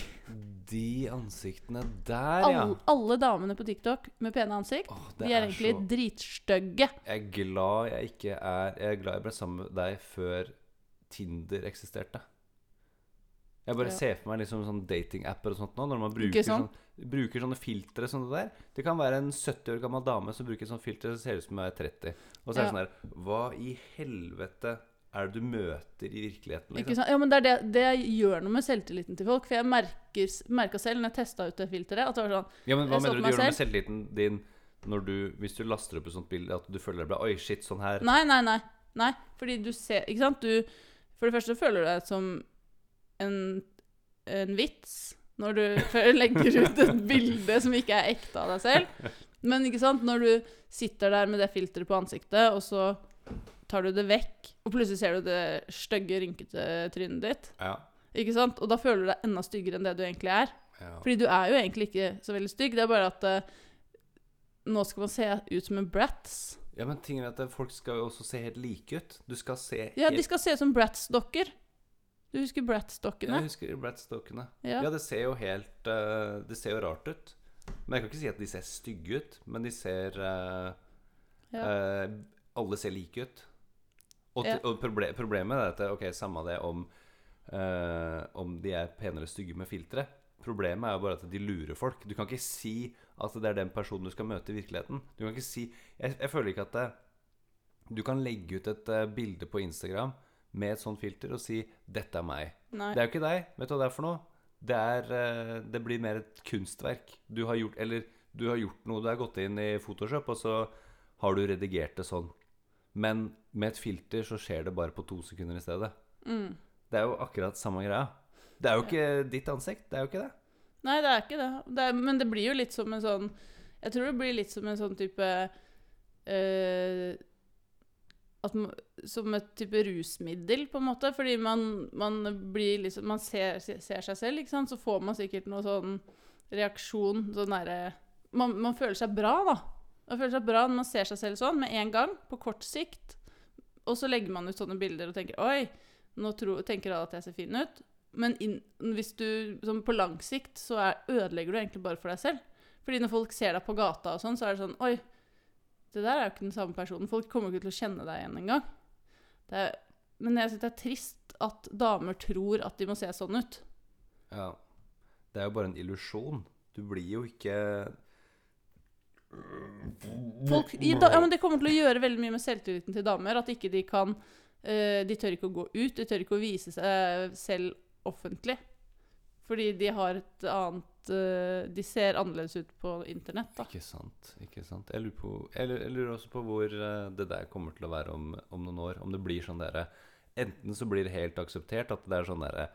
[SPEAKER 3] De ansiktene der, ja.
[SPEAKER 2] Alle, alle damene på TikTok med pene ansikt,
[SPEAKER 3] Åh, det
[SPEAKER 2] de er
[SPEAKER 3] er
[SPEAKER 2] egentlig
[SPEAKER 3] så-
[SPEAKER 2] dritstygge.
[SPEAKER 3] Jeg er glad jeg ikke er Jeg er glad jeg ble sammen med deg før Tinder eksisterte. Jeg bare
[SPEAKER 2] Ja.
[SPEAKER 3] ser for meg liksom sånn datingapper og sånt nå, når man
[SPEAKER 2] Ikke
[SPEAKER 3] bruker,
[SPEAKER 2] sant?
[SPEAKER 3] sånn, bruker sånne filtre som det der. Det kan være en 70 år gammel dame som bruker sånn filter som ser ut som hun er 30. Og så er
[SPEAKER 2] Ja.
[SPEAKER 3] det sånn her Hva i helvete er det du møter i virkeligheten?
[SPEAKER 2] Ikke
[SPEAKER 3] Liksom?
[SPEAKER 2] sant? Ja, men det, er det, det gjør noe med selvtilliten til folk. For jeg merker, merka selv når jeg testa ut det filteret, at det var sånn
[SPEAKER 3] Ja, men hva
[SPEAKER 2] Jeg så
[SPEAKER 3] mener
[SPEAKER 2] på
[SPEAKER 3] du du
[SPEAKER 2] meg
[SPEAKER 3] gjør med selvtilliten din når du, hvis du laster opp et sånt bilde at du føler deg bra? Oi, shit, sånn her.
[SPEAKER 2] Nei, nei, nei. nei fordi du ser Ikke sant? Du For det første føler du deg som en, en vits når du <laughs> før du legger ut et bilde som ikke er ekte av deg selv. Men ikke sant? når du sitter der med det filteret på ansiktet, og så tar du det vekk, og plutselig ser du det stygge, rynkete trynet ditt,
[SPEAKER 3] Ja.
[SPEAKER 2] ikke sant? og da føler du deg enda styggere enn det du egentlig er.
[SPEAKER 3] ja.
[SPEAKER 2] Fordi du er jo egentlig ikke så veldig stygg, det er bare at eh, nå skal man se ut som en brats.
[SPEAKER 3] Ja, men ting er at folk skal jo også se helt like ut. Du skal se
[SPEAKER 2] Ja,
[SPEAKER 3] helt
[SPEAKER 2] de skal se ut som Bratz-dokker. Du husker
[SPEAKER 3] Jeg
[SPEAKER 2] Bratz-dokkene?
[SPEAKER 3] husker Bratz-dokkene. Ja.
[SPEAKER 2] Ja.
[SPEAKER 3] det ser jo helt eh, Det ser jo rart ut. Men jeg kan ikke si at de ser stygge ut, men de ser eh,
[SPEAKER 2] Ja.
[SPEAKER 3] eh, Alle ser like ut. Og,
[SPEAKER 2] Ja.
[SPEAKER 3] og proble problemet er at det- Ok, samme det om eh, om de er pene eller stygge med filtre. Problemet er jo bare at de lurer folk. Du kan ikke si at det er den personen du skal møte i virkeligheten. Du kan ikke si Jeg, jeg føler ikke at det, du kan legge ut et eh, bilde på Instagram med et sånt filter og si 'Dette er meg'.
[SPEAKER 2] Nei.
[SPEAKER 3] Det er jo ikke deg. Vet du hva det er for noe? Det, er, eh, det blir mer et kunstverk. Du har gjort Eller du har gjort noe. Du har gått inn i Photoshop, og så har du redigert det sånn. Men med et filter så skjer det bare på to sekunder i stedet.
[SPEAKER 2] Mm.
[SPEAKER 3] Det er jo akkurat samme greia. Det er jo ikke ditt ansikt. Det er jo ikke det.
[SPEAKER 2] Nei, det er ikke det. det er, men det blir jo litt som en sånn Jeg tror det blir litt som en sånn type eh, at, ma- Som et type rusmiddel, på en måte. Fordi man, man blir liksom Man ser, ser seg selv, ikke sant. Så får man sikkert noe sånn reaksjon. Sånn derre man, man føler seg bra, da. Man føler seg bra når man ser seg selv sånn med en gang, på kort sikt. Og så legger man ut sånne bilder og tenker Oi, nå tro, tenker alle at jeg ser fin ut. Men inn, hvis du, sånn på lang sikt så er, ødelegger du egentlig bare for deg selv. Fordi når folk ser deg på gata og sånn, så er det sånn Oi, det der er jo ikke den samme personen. Folk kommer jo ikke til å kjenne deg igjen engang. Det er- Men jeg syns det er trist at damer tror at de må se sånn ut.
[SPEAKER 3] Ja. Det er jo bare en illusjon. Du blir jo ikke
[SPEAKER 2] Folk, i, da, ja, men det kommer til å gjøre veldig mye med selvtilliten til damer. At ikke de kan eh, De tør ikke å gå ut. De tør ikke å vise seg selv offentlig. Fordi de har et annet eh, De ser annerledes ut på internett, da.
[SPEAKER 3] Ikke sant. ikke sant Jeg lurer, på, jeg lurer, jeg lurer også på hvor eh, det der kommer til å være om, om noen år. Om det blir sånn derre Enten så blir det helt akseptert at det er sånn derre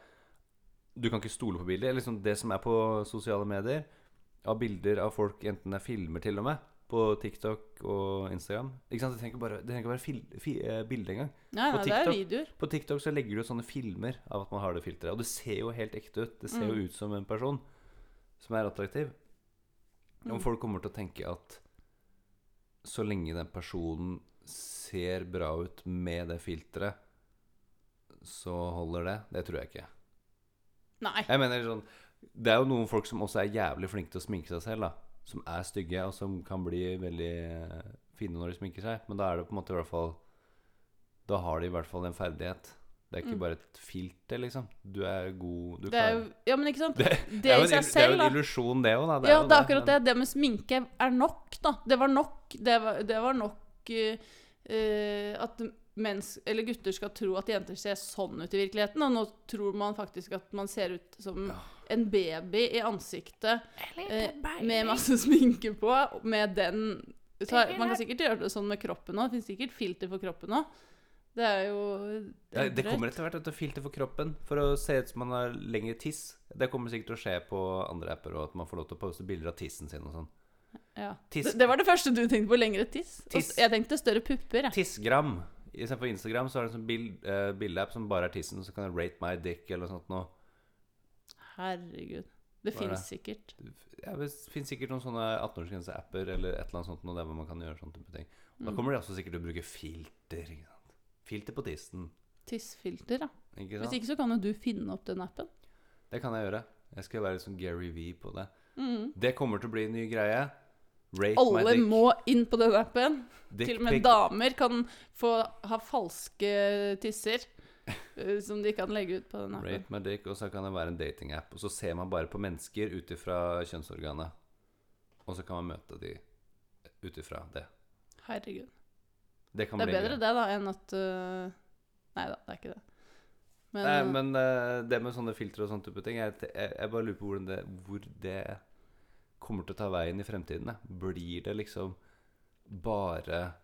[SPEAKER 3] Du kan ikke stole på bilder. eller Liksom det som er på sosiale medier, av bilder av folk, enten det er filmer til og med, på TikTok og Instagram Ikke sant, Det trenger ikke bare, det trenger ikke være fil, fi, eh, bilde engang.
[SPEAKER 2] Nei, nei,
[SPEAKER 3] På
[SPEAKER 2] det er
[SPEAKER 3] TikTok.
[SPEAKER 2] videoer.
[SPEAKER 3] På TikTok så legger du ut sånne filmer av at man har det filteret. Og det ser jo helt ekte ut. Det ser jo ut som en person
[SPEAKER 2] Mm.
[SPEAKER 3] som er attraktiv. Om folk kommer til å tenke at så lenge den personen ser bra ut med det filteret, så holder det. Det tror jeg ikke.
[SPEAKER 2] Nei.
[SPEAKER 3] Jeg mener sånn Det er jo noen folk som også er jævlig flinke til å sminke seg selv, da. Som er stygge, og som kan bli veldig eh, fine når de sminker seg. Men da er det på en måte i hvert fall Da har de i hvert fall en ferdighet. Det er ikke bare et filter, liksom. Du er god du
[SPEAKER 2] Mm. Det er jo
[SPEAKER 3] klarer-
[SPEAKER 2] Ja, men ikke sant?
[SPEAKER 3] det,
[SPEAKER 2] Det,
[SPEAKER 3] det er jo
[SPEAKER 2] i seg
[SPEAKER 3] en, ill- det er
[SPEAKER 2] selv,
[SPEAKER 3] jo en
[SPEAKER 2] da.
[SPEAKER 3] illusjon, det òg, da.
[SPEAKER 2] ja,
[SPEAKER 3] jo
[SPEAKER 2] det er akkurat det.
[SPEAKER 3] men-
[SPEAKER 2] Det med sminke er nok, da. Det var nok Det var, det var nok eh, eh, at mens, eller gutter skal tro at jenter ser sånn ut i virkeligheten. Og nå tror man faktisk at man ser ut som en baby i ansiktet eh, med masse <laughs> sminke på, med den så, har- Man kan sikkert gjøre det sånn med kroppen òg. Det fins sikkert filter for kroppen òg. Det er jo
[SPEAKER 3] Ja, det
[SPEAKER 2] drøyt.
[SPEAKER 3] kommer etter hvert et filter for kroppen for å se ut som man har lengre tiss. Det kommer sikkert til å skje på andre apper, og at man får lov til å poste bilder av tissen sin og sånn.
[SPEAKER 2] ja.
[SPEAKER 3] Tiss.
[SPEAKER 2] det, det var det første du tenkte på. Lengre tiss. Og
[SPEAKER 3] Tiss.
[SPEAKER 2] s- Jeg tenkte større pupper. Jeg.
[SPEAKER 3] Tissgram. Istedenfor Instagram så har du en sånn bild, eh, bildeapp som bare er tissen, og så kan du rate my dick eller noe sånt noe.
[SPEAKER 2] Herregud. Det
[SPEAKER 3] Hva er
[SPEAKER 2] fins sikkert.
[SPEAKER 3] Ja, det finnes sikkert noen sånne 18-årsgrense-apper eller et eller annet sånt noe der hvor man kan gjøre sånne type ting. Og
[SPEAKER 2] Mm.
[SPEAKER 3] da kommer de også sikkert til å bruke filter. ikke sant? Filter på tissen.
[SPEAKER 2] Tissfilter, ja.
[SPEAKER 3] Ikke
[SPEAKER 2] Hvis
[SPEAKER 3] sant?
[SPEAKER 2] ikke så kan jo du finne opp den appen.
[SPEAKER 3] Det kan jeg gjøre. Jeg skal være litt sånn Gary V på det. Det kommer til å bli en ny greie. Rate my
[SPEAKER 2] Alle
[SPEAKER 3] dick.
[SPEAKER 2] må inn på den appen.
[SPEAKER 3] Dick
[SPEAKER 2] Til og med
[SPEAKER 3] pic.
[SPEAKER 2] damer kan få ha falske tisser eh, som de kan legge ut på den appen.
[SPEAKER 3] Rate my dick, og så kan det være en datingapp. Og så ser man bare på mennesker ut ifra kjønnsorganet. Og så kan man møte de ut ifra det.
[SPEAKER 2] Herregud.
[SPEAKER 3] Det kan
[SPEAKER 2] Det er
[SPEAKER 3] bli
[SPEAKER 2] bedre
[SPEAKER 3] gøy.
[SPEAKER 2] det da enn at eh, Nei da, det er ikke det. Men,
[SPEAKER 3] Nei,
[SPEAKER 2] eh,
[SPEAKER 3] men eh, det med sånne filtre og sånne type ting Jeg, jeg, jeg bare lurer på hvordan det, hvor det kommer til å ta veien i fremtiden. jeg. Blir det liksom bare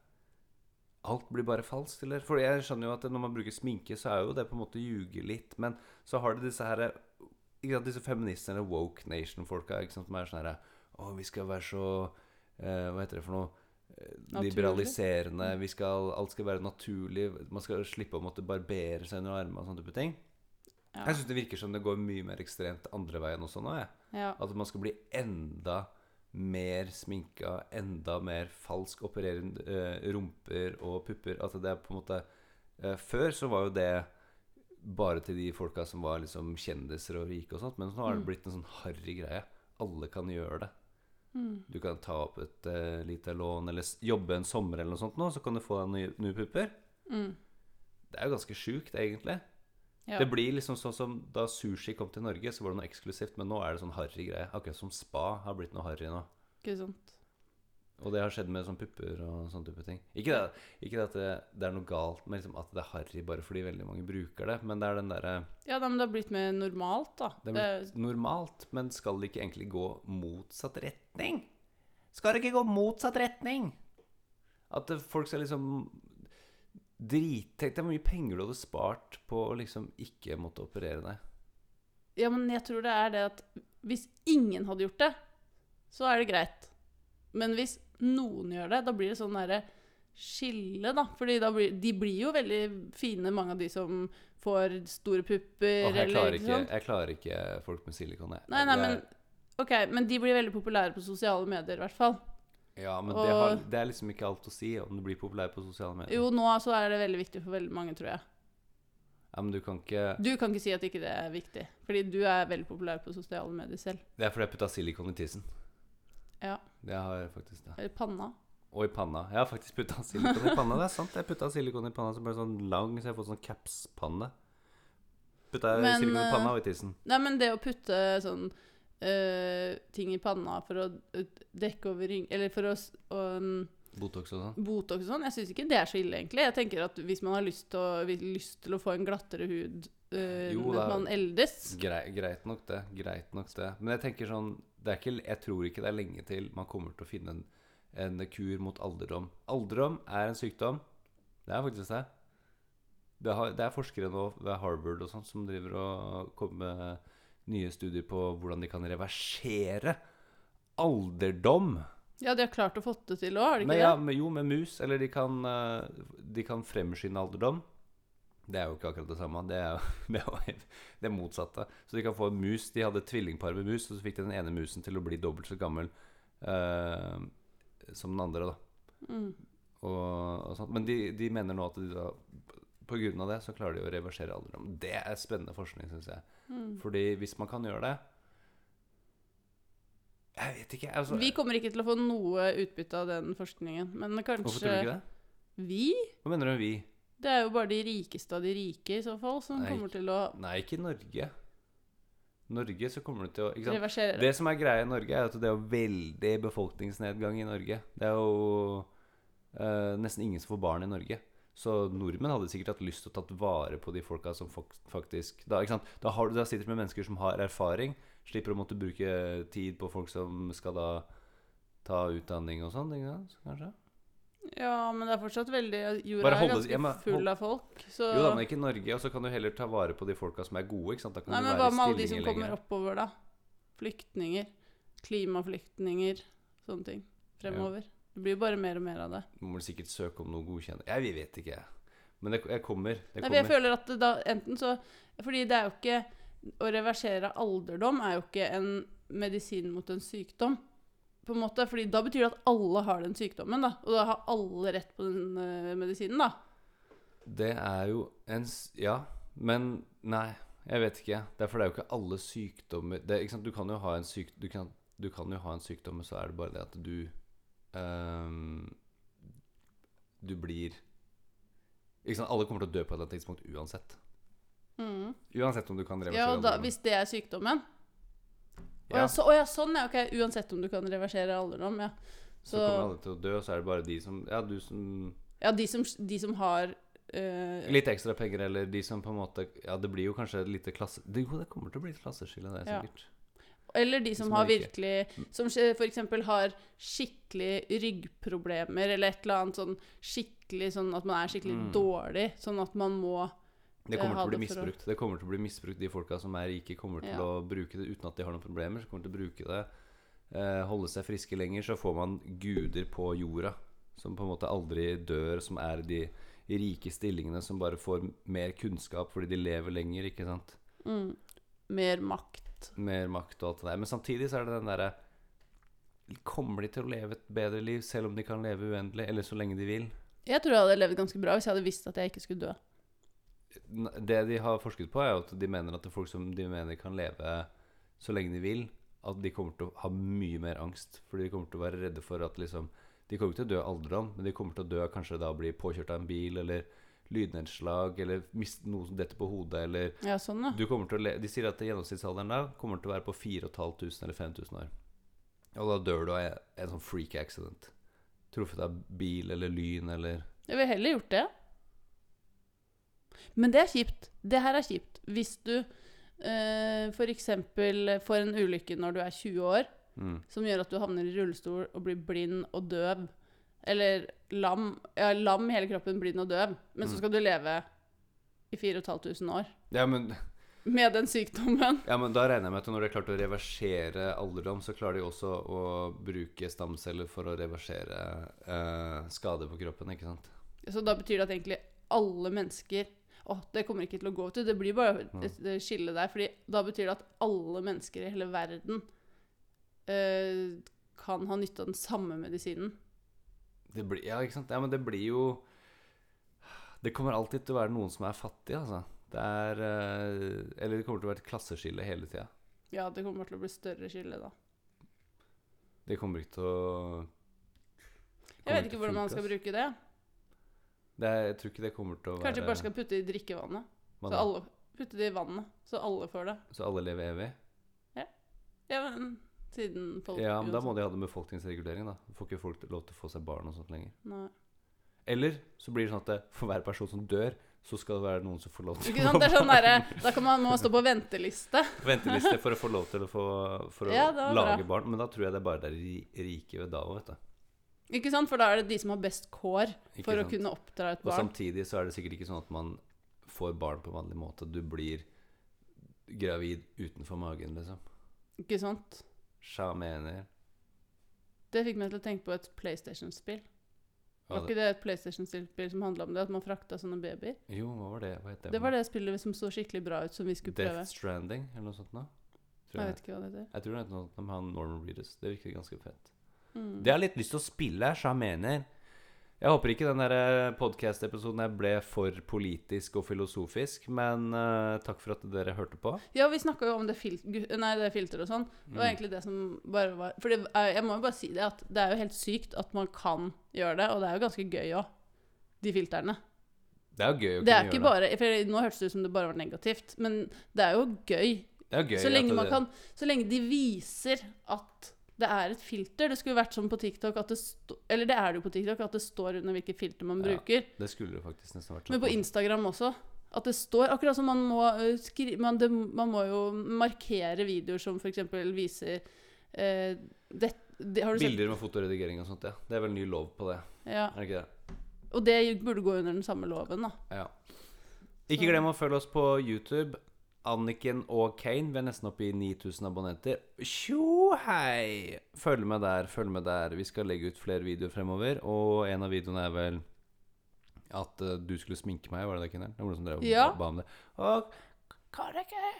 [SPEAKER 3] Alt blir bare falskt, eller? For jeg skjønner jo at når man bruker sminke, så er jo det på en måte å ljuge litt. Men så har du disse her ikke sant, Disse feministene eller woke nation-folka ikke sant, som er sånn her Å, vi skal være så eh, Hva heter det for noe? Eh,
[SPEAKER 2] Naturlig.
[SPEAKER 3] Liberaliserende. Vi skal, alt skal være naturlig. Man skal slippe å måtte barbere seg under armene og sånne type ting.
[SPEAKER 2] Ja.
[SPEAKER 3] Jeg syns det virker som det går mye mer ekstremt andre veien også nå. Jeg.
[SPEAKER 2] ja.
[SPEAKER 3] At man skal bli enda mer sminka, enda mer falsk, operere eh, rumper og pupper. At det er på en måte eh, Før så var jo det bare til de folka som var liksom kjendiser og rike og sånt, men nå har det blitt en sånn harry greie. Alle kan gjøre det.
[SPEAKER 2] Mm,
[SPEAKER 3] Du kan ta opp et eh, lite lån, eller s- jobbe en sommer eller noe sånt nå, så kan du få deg nye, nye pupper. Det er jo ganske sjukt, egentlig.
[SPEAKER 2] mm. Ja.
[SPEAKER 3] Det blir liksom sånn som da sushi kom til Norge, så var det noe eksklusivt, men nå er det sånn harry greie. Akkurat som spa har blitt noe harry nå.
[SPEAKER 2] Ikke sant.
[SPEAKER 3] Og det har skjedd med sånn pupper og sånne type ting. Ikke det, ikke det at det, det er noe galt med liksom at det er harry bare fordi veldig mange bruker det, men det er den derre
[SPEAKER 2] Ja, nei, men det har blitt mer normalt, da.
[SPEAKER 3] Det er
[SPEAKER 2] Det
[SPEAKER 3] blitt normalt, men skal det ikke egentlig gå motsatt retning? Skal det ikke gå motsatt retning? At eh, folk skal liksom drite Tenk deg hvor mye penger du hadde spart på å liksom ikke måtte operere deg.
[SPEAKER 2] Ja, men jeg tror det er det at hvis ingen hadde gjort det, så er det greit. Men hvis noen gjør det, da blir det sånn derre skille, da. Fordi da blir, de blir jo veldig fine, mange av de som får store pupper
[SPEAKER 3] Åh, jeg,
[SPEAKER 2] eller
[SPEAKER 3] klarer
[SPEAKER 2] ikke
[SPEAKER 3] ikke,
[SPEAKER 2] sant.
[SPEAKER 3] jeg klarer ikke folk med silikon, jeg.
[SPEAKER 2] Nei, nei,
[SPEAKER 3] Det
[SPEAKER 2] men
[SPEAKER 3] er-
[SPEAKER 2] OK, men de blir veldig populære på sosiale medier, i hvert fall.
[SPEAKER 3] Ja, men det, har,
[SPEAKER 2] og-
[SPEAKER 3] det er liksom ikke alt å si om du blir populær på sosiale medier.
[SPEAKER 2] Jo, nå så er det veldig viktig for veldig mange, tror jeg.
[SPEAKER 3] Ja, men du kan ikke
[SPEAKER 2] Du kan ikke si at ikke det er viktig, fordi du er veldig populær på sosiale medier selv.
[SPEAKER 3] Det er fordi jeg putta silikon i tissen.
[SPEAKER 2] Ja.
[SPEAKER 3] Jeg har faktisk det.
[SPEAKER 2] Eller panna.
[SPEAKER 3] Og i panna. Jeg har faktisk putta <laughs> silikon i panna. Det er sant. Jeg putta silikon i panna som ble sånn lang, så jeg har fått sånn caps-panne. Putta jeg
[SPEAKER 2] Men,
[SPEAKER 3] silikon i
[SPEAKER 2] eh,
[SPEAKER 3] panna og i tissen.
[SPEAKER 2] Nei, men det å putte sånn eh, ting i panna for å eh, dekke over ring... Eller for å s- å, mm,
[SPEAKER 3] Botox og sånn.
[SPEAKER 2] Botox og sånn. Jeg syns ikke det er så ille, egentlig. Jeg tenker at hvis man har lyst til å, vil- lyst til å få en glattere hud eh,
[SPEAKER 3] Jo,
[SPEAKER 2] mens
[SPEAKER 3] da-
[SPEAKER 2] man eldes
[SPEAKER 3] Grei, greit nok, det. Greit nok, det. Men jeg tenker sånn det er ikke, Jeg tror ikke det er lenge til man kommer til å finne en, en kur mot alderdom. Alderdom er en sykdom. Det er faktisk det. Det, har, det er forskere nå ved Harvard og sånt som driver og kommer med nye studier på hvordan de kan reversere alderdom.
[SPEAKER 2] Ja, de har klart å få det til òg, har de
[SPEAKER 3] Nei,
[SPEAKER 2] ikke
[SPEAKER 3] ja, men jo, med mus. Eller de kan, eh, de kan fremskynde alderdom. Det er jo ikke akkurat det samme. Det er jo <laughs> det, er jo det motsatte. Så de kan få en mus. De hadde et tvillingpar med mus, og så fikk de den ene musen til å bli dobbelt så gammel eh, som den andre. da.
[SPEAKER 2] det? Mm.
[SPEAKER 3] Og, og sånt. Men de, de mener nå at de da på grunn av det så klarer de å reversere alderdom. Det er spennende forskning, syns jeg.
[SPEAKER 2] Mm.
[SPEAKER 3] Fordi hvis man kan gjøre det Jeg vet ikke. Altså,
[SPEAKER 2] Vi kommer ikke til å få noe utbytte av den forskningen, men
[SPEAKER 3] hvorfor tror du ikke
[SPEAKER 2] kanskje
[SPEAKER 3] det?
[SPEAKER 2] vi?
[SPEAKER 3] Hva mener du med vi?
[SPEAKER 2] Det er jo bare de rikeste av de rike i så fall som
[SPEAKER 3] Nei.
[SPEAKER 2] kommer til å
[SPEAKER 3] Nei, ikke i Norge. Norge så kommer det til å ikke sant?
[SPEAKER 2] reversere
[SPEAKER 3] Det som er greia i Norge, er at det er jo veldig befolkningsnedgang i Norge. Det er jo eh, nesten ingen som får barn i Norge. Så nordmenn hadde sikkert hatt lyst til å tatt vare på de folka som fak- faktisk Da, ikke sant? da, har, du- da sitter du med mennesker som har erfaring, slipper å måtte bruke tid på folk som skal da ta utdanning og sånn, ikke sant? Kanskje?
[SPEAKER 2] Ja, men det er fortsatt veldig Jorda
[SPEAKER 3] Bare
[SPEAKER 2] er
[SPEAKER 3] holde-
[SPEAKER 2] ganske
[SPEAKER 3] ja, men hold-
[SPEAKER 2] full av folk, så
[SPEAKER 3] Jo da, men ikke i Norge, og så kan du heller ta vare på de folka som er gode, ikke sant? Da kan
[SPEAKER 2] Nei,
[SPEAKER 3] du
[SPEAKER 2] men hva
[SPEAKER 3] være i
[SPEAKER 2] med alle de som
[SPEAKER 3] stillinger
[SPEAKER 2] kommer
[SPEAKER 3] lenger.
[SPEAKER 2] oppover, da? Flyktninger. Klimaflyktninger. Sånne ting. Fremover. Det blir jo bare mer og mer av det.
[SPEAKER 3] Du må vel sikkert søke om noe godkjenning Jeg vet ikke, jeg. Men det, jeg kommer. Det
[SPEAKER 2] Nei, for jeg
[SPEAKER 3] kommer.
[SPEAKER 2] føler at det da enten så Fordi det er jo ikke Å reversere alderdom er jo ikke en medisin mot en sykdom. På en måte, fordi da betyr det at alle har den sykdommen, da. Og da har alle rett på den eh, medisinen, da.
[SPEAKER 3] Det er jo en s- Ja, men nei, jeg vet ikke. Derfor det er jo ikke alle sykdommer det, ikke sant? Du, kan jo ha en syk, du, kan, du kan jo ha en sykdom, men så er det bare det at du ehm, Du blir Ikke sant? Alle kommer til å dø på et eller annet tidspunkt uansett.
[SPEAKER 2] Mm.
[SPEAKER 3] Uansett om du kan reversere
[SPEAKER 2] Ja, og da,
[SPEAKER 3] alderdommen.
[SPEAKER 2] hvis det er sykdommen. Å
[SPEAKER 3] Ja,
[SPEAKER 2] ja,
[SPEAKER 3] så,
[SPEAKER 2] så, å ja, sånn, ja. Ok, uansett om du kan reversere alderdom, ja. Så,
[SPEAKER 3] kommer alle til å dø, og så er det bare de som Ja, du som
[SPEAKER 2] ja, de som, de som har eh,
[SPEAKER 3] Litt ekstra penger, eller de som på en måte Ja, det blir jo kanskje et lite klasse... Det, jo, det kommer til å bli et klasseskille, det,
[SPEAKER 2] Ja.
[SPEAKER 3] sikkert.
[SPEAKER 2] Eller de som
[SPEAKER 3] som Mm.
[SPEAKER 2] har
[SPEAKER 3] er rike.
[SPEAKER 2] virkelig Som f.eks. har skikkelig ryggproblemer, eller et eller annet sånn skikkelig sånn at man er skikkelig
[SPEAKER 3] Mm.
[SPEAKER 2] dårlig, sånn at man må
[SPEAKER 3] Det
[SPEAKER 2] Eh,
[SPEAKER 3] kommer
[SPEAKER 2] ha
[SPEAKER 3] til å bli
[SPEAKER 2] det for å-
[SPEAKER 3] misbrukt. Det kommer til å bli misbrukt De folka som er rike, kommer til
[SPEAKER 2] Ja.
[SPEAKER 3] å bruke det uten at de har noen problemer. Så kommer de til å bruke det eh, Holde seg friske lenger, så får man guder på jorda. Som på en måte aldri dør, som er de rike stillingene som bare får mer kunnskap fordi de lever lenger, ikke sant.
[SPEAKER 2] mm, mer makt.
[SPEAKER 3] Mer makt og alt det der. Men samtidig så er det den derre Kommer de til å leve et bedre liv selv om de kan leve uendelig, eller så lenge de vil?
[SPEAKER 2] Jeg tror jeg hadde levd ganske bra hvis jeg hadde visst at jeg ikke skulle dø.
[SPEAKER 3] N- Det de har forsket på, er jo at de mener at det er folk som de mener kan leve så lenge de vil, at de kommer til å ha mye mer angst. Fordi de kommer til å være redde for at liksom De kommer ikke til å dø av alderdom, men de kommer til å dø av kanskje da å bli påkjørt av en bil, eller lydnedslag, eller miste noe som detter på hodet, eller
[SPEAKER 2] Ja, sånn, ja.
[SPEAKER 3] du kommer til å le De sier at gjennomsnittsalderen da kommer til å være på 4500 eller 5000 år. Og da dør du av en, en sånn freak accident. Truffet av bil eller lyn eller
[SPEAKER 2] Jeg ville heller gjort det. Men det er kjipt. Det her er kjipt. Hvis du eh, f.eks. får en ulykke når du er 20 år,
[SPEAKER 3] mm.
[SPEAKER 2] som gjør at du havner i rullestol og blir blind og døv. Eller lam. Ja, lam i hele kroppen, blind og døv. Men så
[SPEAKER 3] Mm.
[SPEAKER 2] skal du leve i 4500 år
[SPEAKER 3] Ja, men
[SPEAKER 2] med den sykdommen.
[SPEAKER 3] Ja, men da regner jeg med at når de har klart å reversere alderdom, så klarer de også å bruke stamceller for å reversere eh, skade på kroppen, ikke sant?
[SPEAKER 2] Så da betyr det at egentlig alle mennesker Å, det kommer ikke til å gå til. Det blir bare et et skille der. fordi da betyr det at alle mennesker i hele verden eh, kan ha nytte av den samme medisinen.
[SPEAKER 3] Det blir, ja, ikke sant? Ja, men det blir jo Det kommer alltid til å være noen som er fattige, altså. Det er eh, Eller det kommer til å være et klasseskille hele tida.
[SPEAKER 2] Ja, det kommer bare til å bli større skille da.
[SPEAKER 3] Det kommer ikke til å
[SPEAKER 2] Jeg vet ikke hvordan man skal bruke det.
[SPEAKER 3] det. Er, jeg tror ikke det kommer til å være
[SPEAKER 2] Kanskje bare skal putte i drikkevannet.
[SPEAKER 3] Hva
[SPEAKER 2] Så
[SPEAKER 3] da?
[SPEAKER 2] alle putter det i vannet, så alle får det.
[SPEAKER 3] så alle lever evig?
[SPEAKER 2] Ja, men siden folk
[SPEAKER 3] Ja, men da må de ha det med befolkningsregulering, da. Får ikke folk lov til å få seg barn og sånt lenger.
[SPEAKER 2] Nei.
[SPEAKER 3] Eller så blir det sånn at det, for hver person som dør, så skal det være noen som får lov til
[SPEAKER 2] Ikke sant? Det er sånn derre Da kan man, må man stå på venteliste.
[SPEAKER 3] <laughs> venteliste for å få lov til å få for å
[SPEAKER 2] Ja, det var
[SPEAKER 3] lage
[SPEAKER 2] bra.
[SPEAKER 3] barn. Men da tror jeg det er bare det ri- rike ved da òg, vet du.
[SPEAKER 2] Ikke sant? For da er det de som har best kår
[SPEAKER 3] Ikke
[SPEAKER 2] for å
[SPEAKER 3] sant?
[SPEAKER 2] kunne oppdra et
[SPEAKER 3] Og
[SPEAKER 2] barn.
[SPEAKER 3] samtidig så er det sikkert ikke sånn at man får barn på vanlig måte. Du blir gravid utenfor magen, liksom.
[SPEAKER 2] Ikke sant?
[SPEAKER 3] Sja mener
[SPEAKER 2] Det fikk meg til å tenke på et PlayStation-spill.
[SPEAKER 3] hva
[SPEAKER 2] Var
[SPEAKER 3] det,
[SPEAKER 2] ikke det et PlayStation-spill som handla om det? At man frakta sånne babyer?
[SPEAKER 3] Jo, hva var det? Hva het det?
[SPEAKER 2] Det var det spillet som så skikkelig bra ut, som vi skulle prøve.
[SPEAKER 3] Death Stranding, eller noe sånt nå? Tror
[SPEAKER 2] Jeg
[SPEAKER 3] jeg.
[SPEAKER 2] vet ikke hva det heter.
[SPEAKER 3] jeg tror det er noe sånt med han Norman Reedus. Det virker ganske fett.
[SPEAKER 2] Mm.
[SPEAKER 3] Det har jeg litt lyst til å spille, sja mener. Jeg håper ikke den der eh, podcast-episoden her ble for politisk og filosofisk, men eh, takk for at dere hørte på.
[SPEAKER 2] Ja, vi snakka jo om det, fil gu- nei, det filteret og sånn. Det
[SPEAKER 3] Mm.
[SPEAKER 2] var egentlig det som bare var For det er, jeg må jo bare si det, at det er jo helt sykt at man kan gjøre det, og det er jo ganske gøy òg, de filtrene.
[SPEAKER 3] Det er jo gøy
[SPEAKER 2] Det
[SPEAKER 3] å kunne
[SPEAKER 2] er
[SPEAKER 3] gjøre
[SPEAKER 2] ikke bare For nå hørtes det ut som det bare var negativt, men det er jo gøy.
[SPEAKER 3] det er jo gøy
[SPEAKER 2] Så lenge,
[SPEAKER 3] at
[SPEAKER 2] man
[SPEAKER 3] det-
[SPEAKER 2] kan, så lenge de viser at det er et filter. Det skulle vært som på TikTok at det sto, Eller det er det jo på TikTok, at det står under hvilket filter man
[SPEAKER 3] Ja.
[SPEAKER 2] bruker.
[SPEAKER 3] Det skulle det faktisk nesten vært sånn.
[SPEAKER 2] Men på Instagram også. At det står Akkurat som man må eh, skri, man, det, man må jo markere videoer som f.eks. viser eh, det, det, Har du sett
[SPEAKER 3] Bilder med fotoredigering og sånt, ja. Det er vel ny lov på det,
[SPEAKER 2] Ja.
[SPEAKER 3] er det ikke det?
[SPEAKER 2] Og det burde gå under den samme loven, da.
[SPEAKER 3] Ja. Ikke glem å følge oss på YouTube. Anniken og Kane, vi er nesten oppe i 9000 abonnenter. Tjo hei! Følg med der, følg med der. Vi skal legge ut flere videoer fremover, og en av videoene er vel at eh, du skulle sminke meg, var det det, Kennel? Det var noen som drev og
[SPEAKER 2] Ja.
[SPEAKER 3] ba om det. Og
[SPEAKER 1] Kan dere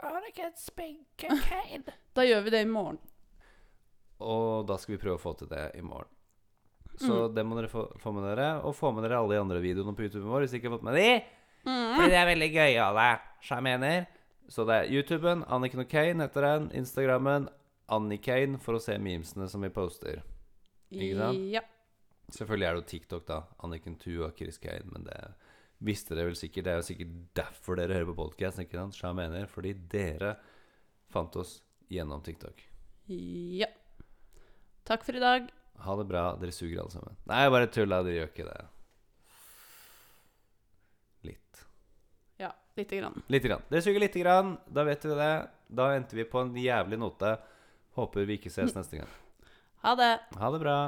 [SPEAKER 1] Kan dere sminke Kane?
[SPEAKER 2] Da gjør vi det i morgen.
[SPEAKER 3] Og da skal vi prøve å få til det i morgen. Så det må dere få, få med dere. Og få med dere alle de andre videoene på YouTube vår hvis dere ikke har fått med de. Fordi de er veldig gøyale. Så jeg mener. Så det er YouTuben, Anniken og Kane heter den. Instagrammen, Annikane, for å se memesene som vi poster. Ikke sant?
[SPEAKER 2] Ja.
[SPEAKER 3] Selvfølgelig er det jo TikTok, da. Anniken Tua og Chris Kane. Men det visste dere vel sikkert. Det er jo sikkert derfor dere hører på podkast, ikke sant? Så jeg mener. Fordi dere fant oss gjennom TikTok.
[SPEAKER 2] Ja. Takk for i dag.
[SPEAKER 3] Ha det bra, dere suger alle sammen. Nei, bare tulla, dere gjør ikke det. Litt.
[SPEAKER 2] Ja, lite grann.
[SPEAKER 3] Lite grann. Dere suger lite grann, da vet vi det. Da endte vi på en jævlig note. Håper vi ikke ses neste gang.
[SPEAKER 2] Ha det.
[SPEAKER 3] Ha det bra.